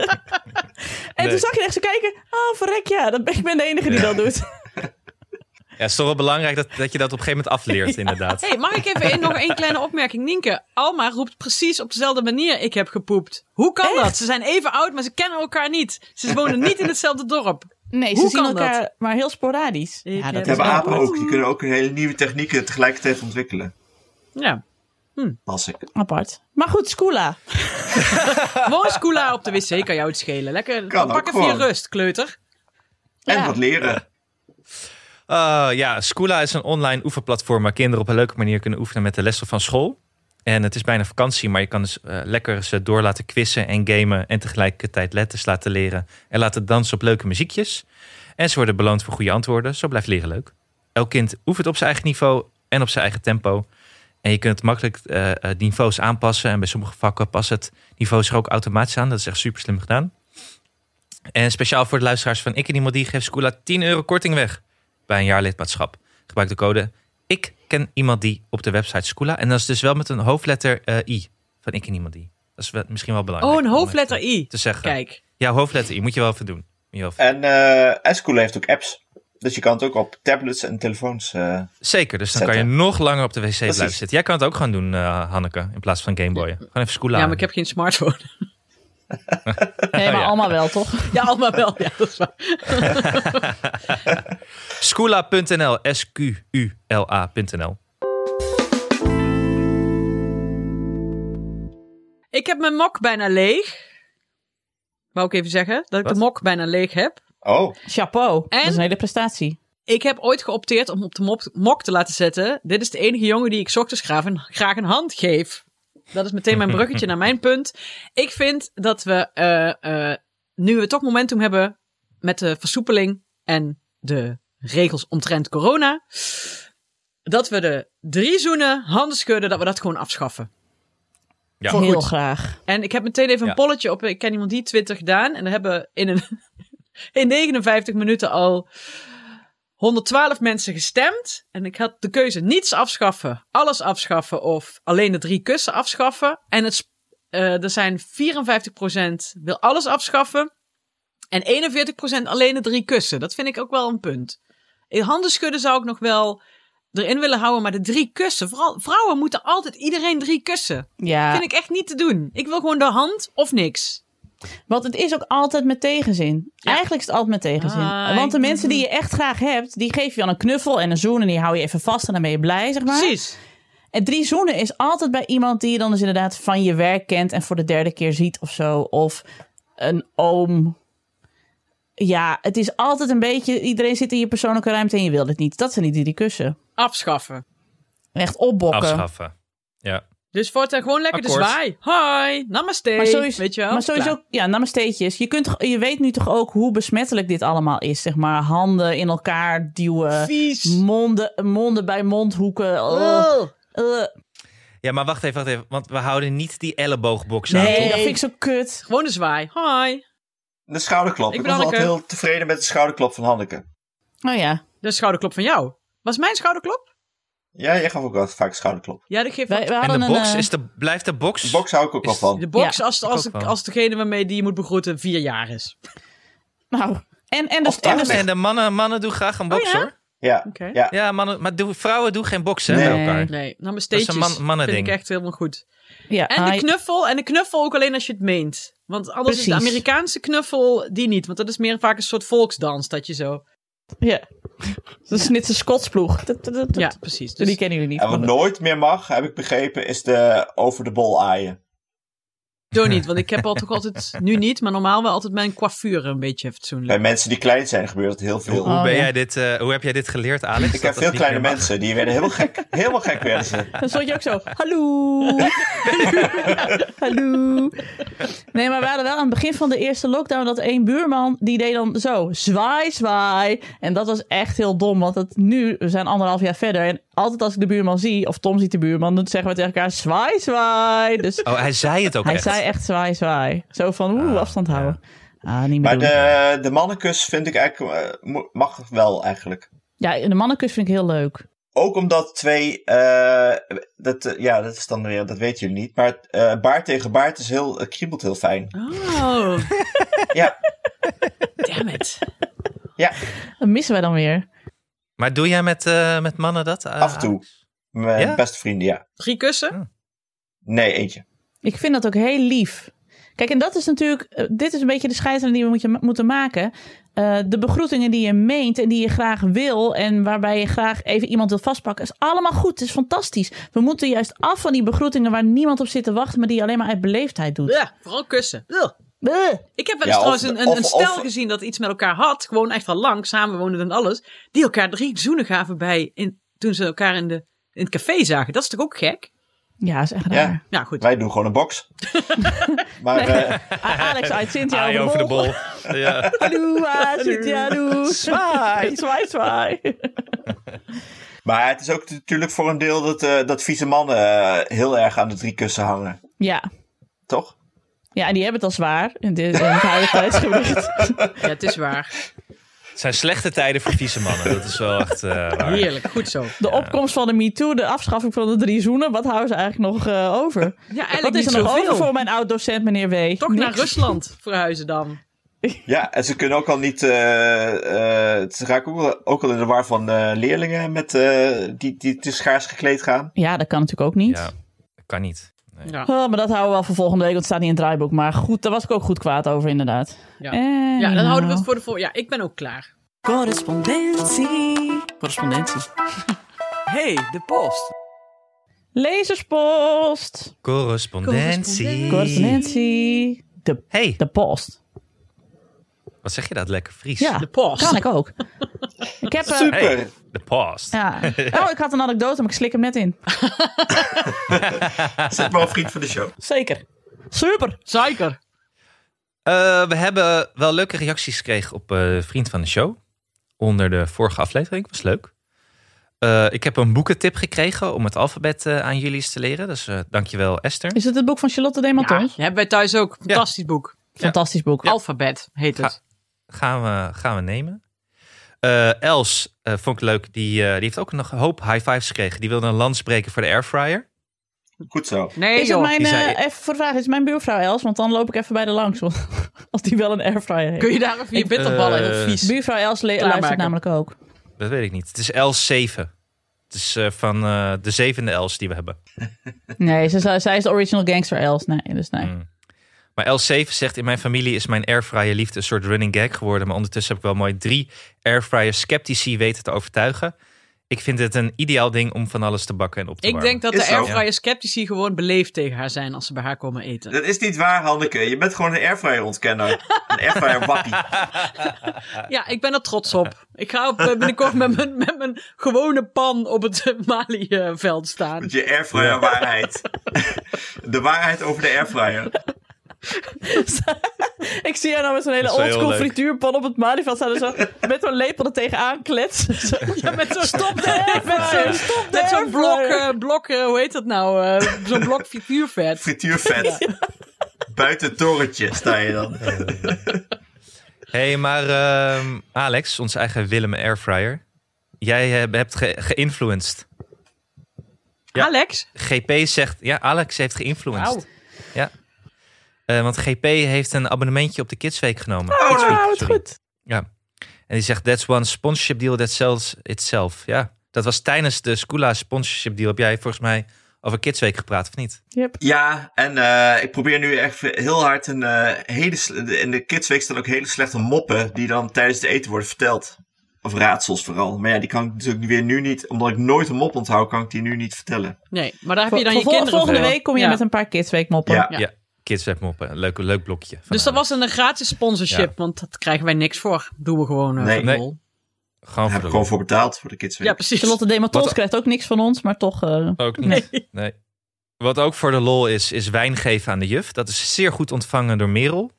Nee. toen zag je echt zo kijken, oh verrek ja, dat ben, ik ben de enige die dat doet. Ja, het is toch wel belangrijk dat, dat je dat op een gegeven moment afleert, inderdaad. hey, mag ik even één- nog één kleine opmerking? Nienke, Alma roept precies op dezelfde manier: Ik heb gepoept. Hoe kan dat? Ze zijn even oud, maar ze kennen elkaar niet. Ze wonen niet in hetzelfde dorp. Nee, ze Hoe zien kan elkaar maar heel sporadisch. Ik ja, heb- dat Dat hebben is apen apart. ook. Die kunnen ook een hele nieuwe technieken tegelijkertijd ontwikkelen. Ja. Las ik. apart. Maar goed, [LAUGHS] Skoola. Gewoon Skoola op de wc kan jou het schelen. Lekker. Kan ook pak even je gewoon. rust, kleuter. En Ja. wat leren. Eh, ja, Schoola is een online oefenplatform waar kinderen op een leuke manier kunnen oefenen met de lessen van school. En het is bijna vakantie, maar je kan dus eh, lekker ze door laten quizzen en gamen. En tegelijkertijd letters laten leren en laten dansen op leuke muziekjes. En ze worden beloond voor goede antwoorden. Zo blijft leren leuk. Elk kind oefent op zijn eigen niveau en op zijn eigen tempo. En je kunt makkelijk eh, eh, de niveaus aanpassen. En bij sommige vakken past het niveau zich ook automatisch aan. Dat is echt super slim gedaan. En speciaal voor de luisteraars van Ik en Iemand Die geeft Schoola 10 euro korting weg bij een jaar lidmaatschap. Gebruik de code Ik ken iemand die op de website Scoola. En dat is dus wel met een hoofdletter eh, I. Van Ik ken iemand die. Dat is wel- misschien wel belangrijk. Oh, een om even hoofdletter I. Te zeggen. Kijk. Ja, hoofdletter I. Moet je wel even doen. Moet je wel even doen. En eh Escool heeft ook apps. Dus je kan het ook op tablets en telefoons. eh, Zeker, dus dan Zetten. kan je nog langer op de wc blijven Precies. zitten. Jij kan het ook gaan doen, eh, Hanneke, in plaats van Gameboyen. Gewoon even Scoola. Ja, maar ik heb geen smartphone. [LAUGHS] Nee, maar Ja. allemaal wel, toch? Ja, allemaal wel. Ja, dat is waar. Scoola.nl. S-Q-U-L-A.nl. Ik heb mijn mok bijna leeg. Wou ik even zeggen dat ik Wat? de mok bijna leeg heb. Oh, Chapeau. En? Dat is een hele prestatie. Ik heb ooit geopteerd om op de mop- mok te laten zetten. Dit is de enige jongen die ik 's ochtends graag een, graag een hand geef. Dat is meteen mijn bruggetje naar mijn punt. Ik vind dat we, eh, eh, nu we toch momentum hebben met de versoepeling en de regels omtrent corona, dat we de drie zoenen, handen schudden, dat we dat gewoon afschaffen. Ja. Heel Goed. graag. En ik heb meteen even een Ja. polletje op. Ik ken iemand die Twitter gedaan. En daar hebben in, een, [LAUGHS] in 59 minuten al 112 mensen gestemd. En ik had de keuze niets afschaffen, alles afschaffen of alleen de drie kussen afschaffen. En het, sp- eh, er zijn 54% wil alles afschaffen. En 41% alleen de drie kussen. Dat vind ik ook wel een punt. In handen schudden zou ik nog wel erin willen houden. Maar de drie kussen. Vooral, vrouwen moeten altijd iedereen drie kussen. Ja, Vind ik echt niet te doen. Ik wil gewoon de hand of niks. want het is ook altijd met tegenzin. Eigenlijk is het altijd met tegenzin. Ah, want de ik- mensen die je echt graag hebt, die geef je dan een knuffel en een zoen en die hou je even vast en dan ben je blij, zeg maar. Precies. En drie zoenen is altijd bij iemand die je dan dus inderdaad van je werk kent en voor de derde keer ziet of zo. Of een oom. Ja, het is altijd een beetje, iedereen zit in je persoonlijke ruimte en je wil het niet. Dat zijn die drie kussen. Afschaffen. Echt opbokken. Afschaffen. Ja. Dus voortaan gewoon lekker Akkoord. de zwaai. Hoi, namaste. Maar sowieso, Weet je wel? maar sowieso Klaar. ja, namasteetjes. Je, kunt, toch- je weet nu toch ook hoe besmettelijk dit allemaal is, zeg maar. Handen in elkaar duwen. Vies. Monden, monden bij mondhoeken. Oh, Oh. eh. ja, maar wacht even, wacht even. Want we houden niet die elleboogbox aan. Nee, toch? dat vind ik zo kut. Gewoon de zwaai. Hoi. de schouderklop. Ik Ik, ben was altijd Hanneke. heel tevreden met de schouderklop van Hanneke. Oh ja, De schouderklop van jou. Was mijn schouderklop? Ja, jij gaf ook wel vaak schouderklop. Ja, dat geeft wij, wij En hadden de box, een... eh, is de, blijft de box? De box hou ik ook wel Is- van. de box Ja, als, ik als, ook als, wel. degene waarmee die je moet begroeten vier jaar is. Nou, en, en, dus, Of en dus- En de mannen, mannen doen graag een box, ja? hoor. Ja. Oké. ja. Ja, mannen, maar doe, vrouwen doen geen boxen Nee. bij elkaar. Nee, Dat namasteetjes. is een man- vind ik mannending. echt helemaal goed. ja, En de ah, knuffel. En de knuffel ook alleen als je het meent. Want anders is de Precies. Amerikaanse knuffel die niet. Want dat is meer vaak een soort volksdans dat je zo... Ja. [LAUGHS] Dat is net een Skotsploeg. Dat- dat- dat- Ja, precies. Die Dus kennen jullie niet. En wat nooit meer mag, heb ik begrepen, is de over de bol aaien. Zo niet, want ik heb al toch altijd, nu niet, maar normaal wel altijd mijn coiffure een beetje Bij fatsoenlijk. mensen die klein zijn gebeurt dat heel veel. Hoe, Oh, ben ja. jij dit, eh, hoe heb jij dit geleerd, Alex? ik dus Dat heb dat veel niet kleine meer mag? mensen, die werden helemaal gek. Helemaal gek werden ze. Dan stond je ook zo, hallo. [LAUGHS] hallo. Nee, maar we hadden wel aan het begin van de eerste lockdown dat één buurman, die deed dan zo, zwaai, zwaai. En dat was echt heel dom, want dat nu, we zijn anderhalf jaar verder. En altijd als ik de buurman zie, of Tom ziet de buurman, dan zeggen we tegen elkaar, zwaai, zwaai. Dus Oh, hij zei het ook hij echt. zei echt zwaai, zwaai. Zo van, oeh, Ah, afstand ja. houden. Ah, niet meer Maar doen. de, de mannenkus vind ik eigenlijk, eh, mo- mag wel eigenlijk. Ja, en de mannenkus vind ik heel leuk. Ook omdat twee, eh, dat, eh, ja, dat is dan weer, dat weten jullie niet. Maar eh, baard tegen baard is heel, het kriebelt heel fijn. Oh, Ja, damn it. Dat missen wij dan weer. Maar doe jij met, eh, met mannen dat? eh, af en toe. Mijn Ja? beste vrienden, ja. Drie kussen? Nee, eentje. Ik vind dat ook heel lief. Kijk, en dat is natuurlijk, eh, dit is een beetje de scheidslijn die we moet je, moeten maken. Eh, de begroetingen die je meent en die je graag wil en waarbij je graag even iemand wil vastpakken, is allemaal goed. Het is fantastisch. We moeten juist af van die begroetingen waar niemand op zit te wachten, maar die je alleen maar uit beleefdheid doet. Eh. Ja, vooral kussen. Ugh. Bleh. Ik heb wel eens Ja, of- trouwens een, een, of- een stel of- gezien dat iets met elkaar had. Gewoon echt al lang, samenwonen en alles. Die elkaar drie zoenen gaven bij in, toen ze elkaar in, de, in het café zagen. Dat is toch ook gek? Ja, is echt Ja. raar. Nou goed. Wij doen gewoon een box. maar eh, A- Ah, Alex uit Cynthia Aai over de bol. [LAUGHS] ja. Hallo, ah, Cynthia, hallo. [LAUGHS] Zwaai. Zwaai, zwaai. Maar het is ook natuurlijk voor een deel dat, eh, dat vieze mannen eh, heel erg aan de drie kussen hangen, Ja. toch? ja, en die hebben het al zwaar in, dit, in het huidige tijdsgewicht. Ja, het is waar. Het zijn slechte tijden voor vieze mannen. Dat is wel echt eh, waar. Heerlijk. Goed zo. De opkomst van de MeToo, de afschaffing van de drie zoenen. Wat houden ze eigenlijk nog eh, over? Ja, Wat eigenlijk is niet er nog over voor zoveel. mijn oud-docent, meneer W? Toch naar Niks. Rusland verhuizen dan. Ja, en ze kunnen ook al niet. eh, eh, ze raken ook, wel- ook al in de war van eh, leerlingen met, eh, die, die te schaars gekleed gaan. Ja, dat kan natuurlijk ook niet. Ja, dat kan niet. Nee. Ja. Oh, maar dat houden we wel voor volgende week, want het staat niet in het draaiboek. Maar goed, daar was ik ook goed kwaad over, inderdaad. Ja. Eh, Ja, dan houden we nou. het voor de volgende. Ja, ik ben ook klaar. Correspondentie. [LAUGHS] Correspondentie. Hey, de post. Lezerspost. Correspondentie. Correspondentie. De, Hey, de post. wat zeg je dat lekker Fries? Ja. De post. Kan ik ook. ik heb... eh, Super. Hey, de past. ja. Oh, ik had een anekdote, maar ik slik hem net in. [LAUGHS] Zet maar een vriend van de show. Zeker. Super. Suiker. Eh, we hebben wel leuke reacties gekregen op eh, Vriend van de Show. Onder de vorige aflevering. Was leuk. Eh, ik heb een boekentip gekregen om het alfabet eh, aan jullie eens te leren. Dus eh dankjewel Esther. Is het het boek van Charlotte de Ja, Maton? hebben wij thuis ook. Fantastisch boek. Fantastisch boek. Alfabet heet het. Gaan we, gaan we nemen. Eh, Els eh, vond ik leuk. Die, eh, die heeft ook nog een hoop high fives gekregen. Die wilde een lans breken voor de airfryer. Goed zo. Nee is het joh. mijn, die zei- eh, even voor de vraag, is het mijn buurvrouw Els? Want dan loop ik even bij de langs, want- [LAUGHS] als die wel een airfryer heeft. Kun je daar even je Ik- bitterballen Eh, heel vies. Buurvrouw Els le- Klaarmaken. luistert namelijk ook. Dat weet ik niet. Het is Els 7. Het is eh, van eh, de zevende Els die we hebben. Nee, ze, zou- zij is de original gangster Els. Nee, dus nee. Mm. Maar L7 zegt, in mijn familie is mijn airfryer liefde een soort running gag geworden. Maar ondertussen heb ik wel mooi drie airfryer sceptici weten te overtuigen. Ik vind het een ideaal ding om van alles te bakken en op te Ik warmen. denk dat Is de zo. airfryer sceptici gewoon beleefd tegen haar zijn als ze bij haar komen eten. Dat is niet waar, Hanneke. Je bent gewoon een airfryer ontkenner. Een airfryer wappie. Ja, ik ben er trots op. Ik ga op, eh, binnenkort met mijn, met mijn gewone pan op het [LAUGHS] eh, Mali-veld staan. Met je airfryer [LAUGHS] waarheid. De waarheid over de airfryer. Ik zie haar nou met zo'n hele Dat is wel oldschool heel leuk. frituurpan op het Malieveld staan. en Zo, met een lepel er tegenaan kletsen. Zo, Ja, met zo'n stop met airfryer. zo'n Stop de met zo'n blok, airfryer. eh, blok eh, hoe heet dat nou? eh, zo'n blok frituurvet. Frituurvet. Buiten het torentje sta je dan. hey, maar ehm, Alex, onze eigen Willem airfryer. Jij eh, hebt ge- geïnfluenced. Ja. Alex? GP zegt, ja, Alex heeft geïnfluenced. Wauw. Ja. Eh, want GP heeft een abonnementje op de Kidsweek genomen. Oh, Kidsweek, nou, het sorry. goed. Ja. En die zegt, that's one sponsorship deal that sells itself. Ja, dat was tijdens de Scula sponsorship deal. Heb jij volgens mij over Kidsweek gepraat, of niet? Yep. Ja, en eh, ik probeer nu echt heel hard een eh, hele. sle- In de kidsweek staan ook hele slechte moppen die dan tijdens het eten worden verteld. Of raadsels vooral. Maar ja, die kan ik natuurlijk weer nu niet. Omdat ik nooit een mop onthoud, kan ik die nu niet vertellen. Nee, maar daar heb Vol- je dan je vol- kinderen volgende voor. week kom je Ja. met een paar Kidsweek moppen. Ja. Ja. Kidsweek moppen, leuk, leuk blokje. van eh, Dus dat Alex. was een gratis sponsorship, Ja. want dat krijgen wij niks voor. Doen we gewoon eh Nee. voor de Nee. lol. Gewoon Daar voor heb de ik gewoon lol. voor betaald voor de kidsweek. Ja, precies. Charlotte de Matons Wat- krijgt ook niks van ons, maar toch... eh, Ook niet. Nee. Wat ook voor de lol is, is wijn geven aan de juf. Dat is zeer goed ontvangen door Merel.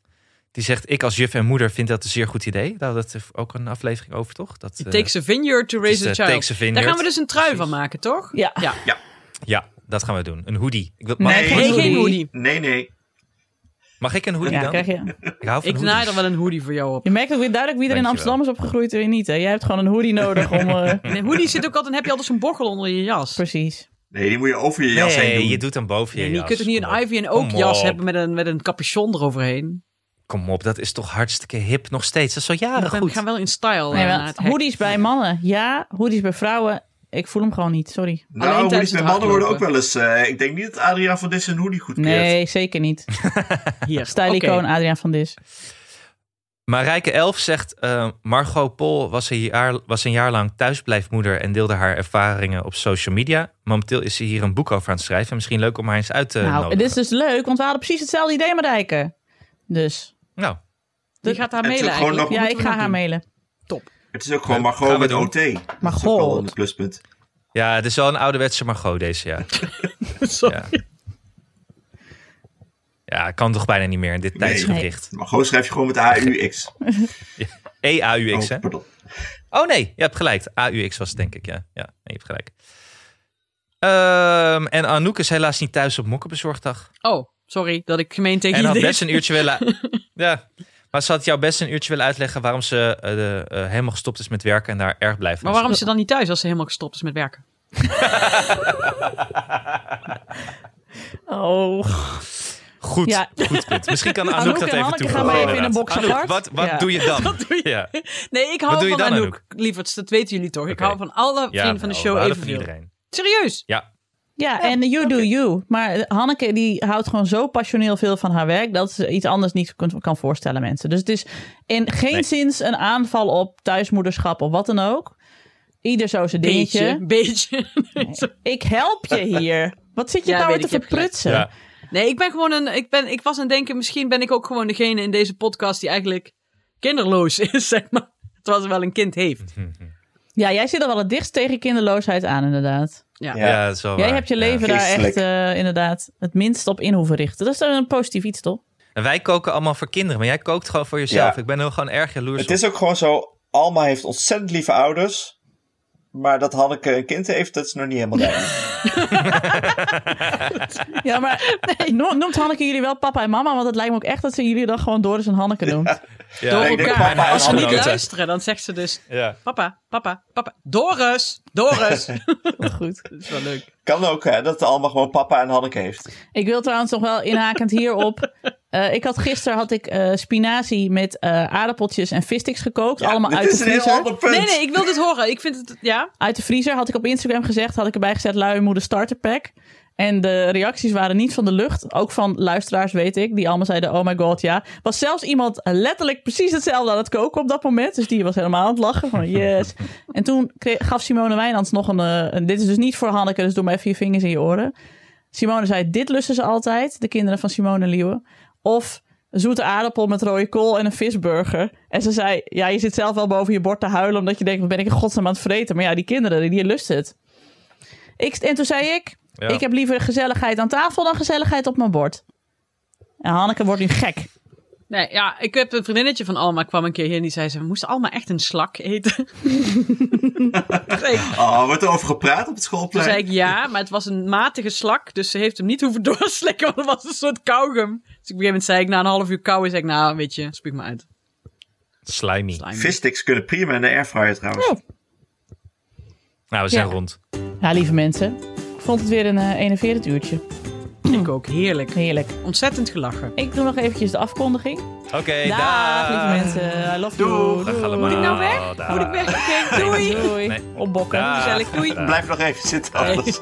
Die zegt, ik als juf en moeder vind dat een zeer goed idee. Daar hadden we het ook een aflevering over, toch? Dat, It eh, takes a vineyard to raise het a is, child. eh, takes a vineyard. Daar gaan we dus een trui Precies. van maken, toch? ja. Ja. Ja, dat gaan we doen. Een hoodie. Ik wil, Nee, mag- geen Nee, geen hoodie. hoodie. Nee, nee. Mag ik een hoodie Ja, dan? krijg je. Ik hou van Ik naai hoodies. er wel een hoodie voor [LAUGHS] jou op. Je merkt ook weer duidelijk wie er in Dankjewel. Amsterdam is opgegroeid en wie niet. Hè? Jij hebt gewoon een hoodie nodig om... eh, En een hoodie zit ook altijd, dan heb je altijd zo'n bochel onder je jas. precies. Nee, die moet je over je jas heen Nee, doen. je doet hem boven je En je jas. kunt toch niet Kom een op. Ivy en Oak Kom jas op. hebben met een, met een capuchon eroverheen. Kom op, dat is toch hartstikke hip nog steeds. Dat is al We jaren goed. gaan wel in style. Nee, eh, wel, naar het hek. hoodies bij mannen, ja. Hoodies bij vrouwen, ik voel hem gewoon niet, sorry. alleen Nou, tijdens hoodies het met mannen worden ook hardlopen. wel eens... eh, ik denk niet dat Adriaan van Dis een hoodie goedkeurt. Nee, zeker niet. Hier. Stijlicoon Oké. Adriaan van Dis. Maar Rijke Elf zegt, eh, Margot Pol was een, jaar, was een jaar lang thuisblijfmoeder en deelde haar ervaringen op social media. Momenteel is ze hier een boek over aan het schrijven. Misschien leuk om haar eens uit te nou, nodigen. dit is dus leuk, want we hadden precies hetzelfde idee met Eike. Dus, Nou, Die gaat haar En mailen toen gewoon eigenlijk. nog- ja, Moeten we ik ga nog haar doen. mailen. Het is ook gewoon Leuk. Gaan Margot we met doen. OT. Maar Margot. een pluspunt. ja, het is wel een ouderwetse Margot deze, ja. Sorry. Ja, ja kan toch bijna niet meer in dit Nee. tijdsgericht. Margot schrijf je gewoon met AUX. E E-AUX, hè? Oh, pardon. Oh nee, je hebt gelijk. AUX was het denk ik, ja. Ja, nee, je hebt gelijk. Ehm, en Anouk is helaas niet thuis op mokkenbezorgdag. Oh, sorry dat ik gemeen tegen En je had deed. best een uurtje willen... ja, maar ze had jou best een uurtje willen uitleggen waarom ze eh, de, eh, helemaal gestopt is met werken en daar erg blij van Maar is. waarom is ze dan niet thuis als ze helemaal gestopt is met werken? Oh, Goed, Ja. goed punt. Misschien kan Anouk, Anouk dat en even Hanneke toevoegen. gaan wij even in een box Anouk, apart. wat, [LAUGHS] wat Ja. doe je [LAUGHS] dan? doe je- Ja. Nee, ik Wat hou doe je van dan, Anouk, Anouk? lieverds. Dat weten jullie toch. Ik Oké. hou van alle vrienden van Ja, de nou, show we houden van evenveel. iedereen. Serieus? Ja, Ja, en you do you. Maar Hanneke die houdt gewoon zo passioneel veel van haar werk dat ze iets anders niet kunt- kan voorstellen mensen. Dus het is in geen Nee. zins een aanval op thuismoederschap of wat dan ook. Ieder zo zijn dingetje. Beetje, beetje. Ik help je hier. Wat zit je Ja, nou weet weer te ik, je hebt gelijk. verprutsen? ja. Nee, ik ben gewoon een. Ik, ben, ik was aan het denken, misschien ben ik ook gewoon degene in deze podcast die eigenlijk kinderloos [LAUGHS] is, zeg maar. Terwijl ze wel een kind heeft. Ja, jij zit er wel het dichtst tegen kinderloosheid aan inderdaad. Ja. Ja. ja, dat is wel jij waar. hebt je Ja. leven daar echt Geestelijk. eh, inderdaad het minst op in hoeven richten. Dat is dan een positief iets [LAUGHS] toch? En wij koken allemaal voor kinderen, maar jij kookt gewoon voor jezelf. Ja. Ik ben er gewoon erg jaloers Het op. is ook gewoon zo, Alma heeft ontzettend lieve ouders. Maar dat Hanneke een kind heeft, dat is nog niet helemaal [LAUGHS] duidelijk. Ja, maar no- noemt Hanneke jullie wel papa en mama? Want het lijkt me ook echt dat ze jullie dan gewoon Doris en Hanneke noemt. Ja. Door ik denk elkaar. papa en als ze niet Hanneke. luisteren, dan zegt ze dus: Ja. Papa, papa, papa. Doris, [LAUGHS] Doris. Wat goed. dat is wel leuk. Kan ook, hè, dat Alma gewoon papa en Hanneke heeft. Ik wil trouwens nog wel inhakend [LAUGHS] hierop. Eh, ik had gisteren had ik eh, spinazie met eh, aardappeltjes en vistix gekookt. Ja, allemaal dit uit de is een heel vriezer. ander punt. Nee, nee, ik wil dit horen. Ik vind het. Ja. Uit de vriezer had ik op Instagram gezegd, had ik erbij gezet lui moeder starter pack. En de reacties waren niet van de lucht. Ook van luisteraars, weet ik, die allemaal zeiden: Oh my god, ja. Was zelfs iemand letterlijk precies hetzelfde aan het koken op dat moment. Dus die was helemaal aan het lachen. Van yes. En toen kreeg- gaf Simone Wijnands nog een, eh, een. Dit is dus niet voor Hanneke, dus doe maar even je vingers in je oren. Simone zei: Dit lussen ze altijd, de kinderen van Simone Liewen. Of een zoete aardappel met rode kool en een visburger. En ze zei: Ja, je zit zelf wel boven je bord te huilen. omdat je denkt: Wat ben ik in godsnaam aan het vreten? Maar ja, die kinderen, die lusten het. Ik, en toen zei ik: Ja. Ik heb liever gezelligheid aan tafel dan gezelligheid op mijn bord. En Hanneke wordt nu gek. Nee, ja, ik heb een vriendinnetje van Alma kwam een keer hier en die zei ze, we moesten Alma echt een slak eten. [LAUGHS] nee, Oh, wordt er over gepraat op het toen schoolplein? zei ik ja, maar het was een matige slak, dus ze heeft hem niet hoeven [LAUGHS] doorslikken, want het was een soort kauwgum. Dus op een gegeven moment zei ik, na een half uur kauwen, zei ik, nou weet je, spuug me uit. Slimy. Slime. Vissticks kunnen prima in de airfryer trouwens. Oh. Nou, we zijn Ja. rond. Ja, lieve mensen. Ik vond het weer een eh, enerverend uurtje. Ik ook, heerlijk. Heerlijk. Ontzettend gelachen. Ik doe nog eventjes de afkondiging. Oké, Dag, lieve mensen. I love you. Doeg. Dag allemaal. Moet ik nou weg? Dag. Moet ik weg? Oké, [LAUGHS] doei. Doei. Nee. Opbokken. Dag. Gezellig, doei. Dag. Blijf nog even zitten, anders.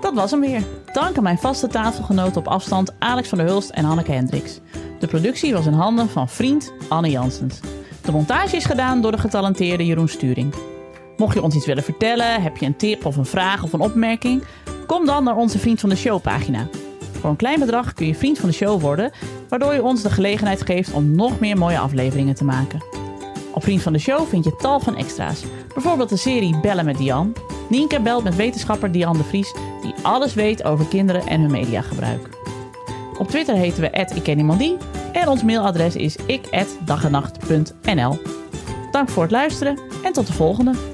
Dat was hem weer. Dank aan mijn vaste tafelgenoten op afstand Alex van der Hulst en Hanneke Hendricks. De productie was in handen van vriend Anne Jansens. De montage is gedaan door de getalenteerde Jeroen Sturing. Mocht je ons iets willen vertellen, heb je een tip of een vraag of een opmerking, kom dan naar onze Vriend van de Show pagina. Voor een klein bedrag kun je Vriend van de Show worden, waardoor je ons de gelegenheid geeft om nog meer mooie afleveringen te maken. Op Vriend van de Show vind je tal van extra's. Bijvoorbeeld de serie Bellen met Dian. Nienke belt met wetenschapper Dian de Vries, die alles weet over kinderen en hun mediagebruik. Op Twitter heten we ikkenniemandie en ons mailadres is ik@dagennacht.nl. Dank voor het luisteren en tot de volgende.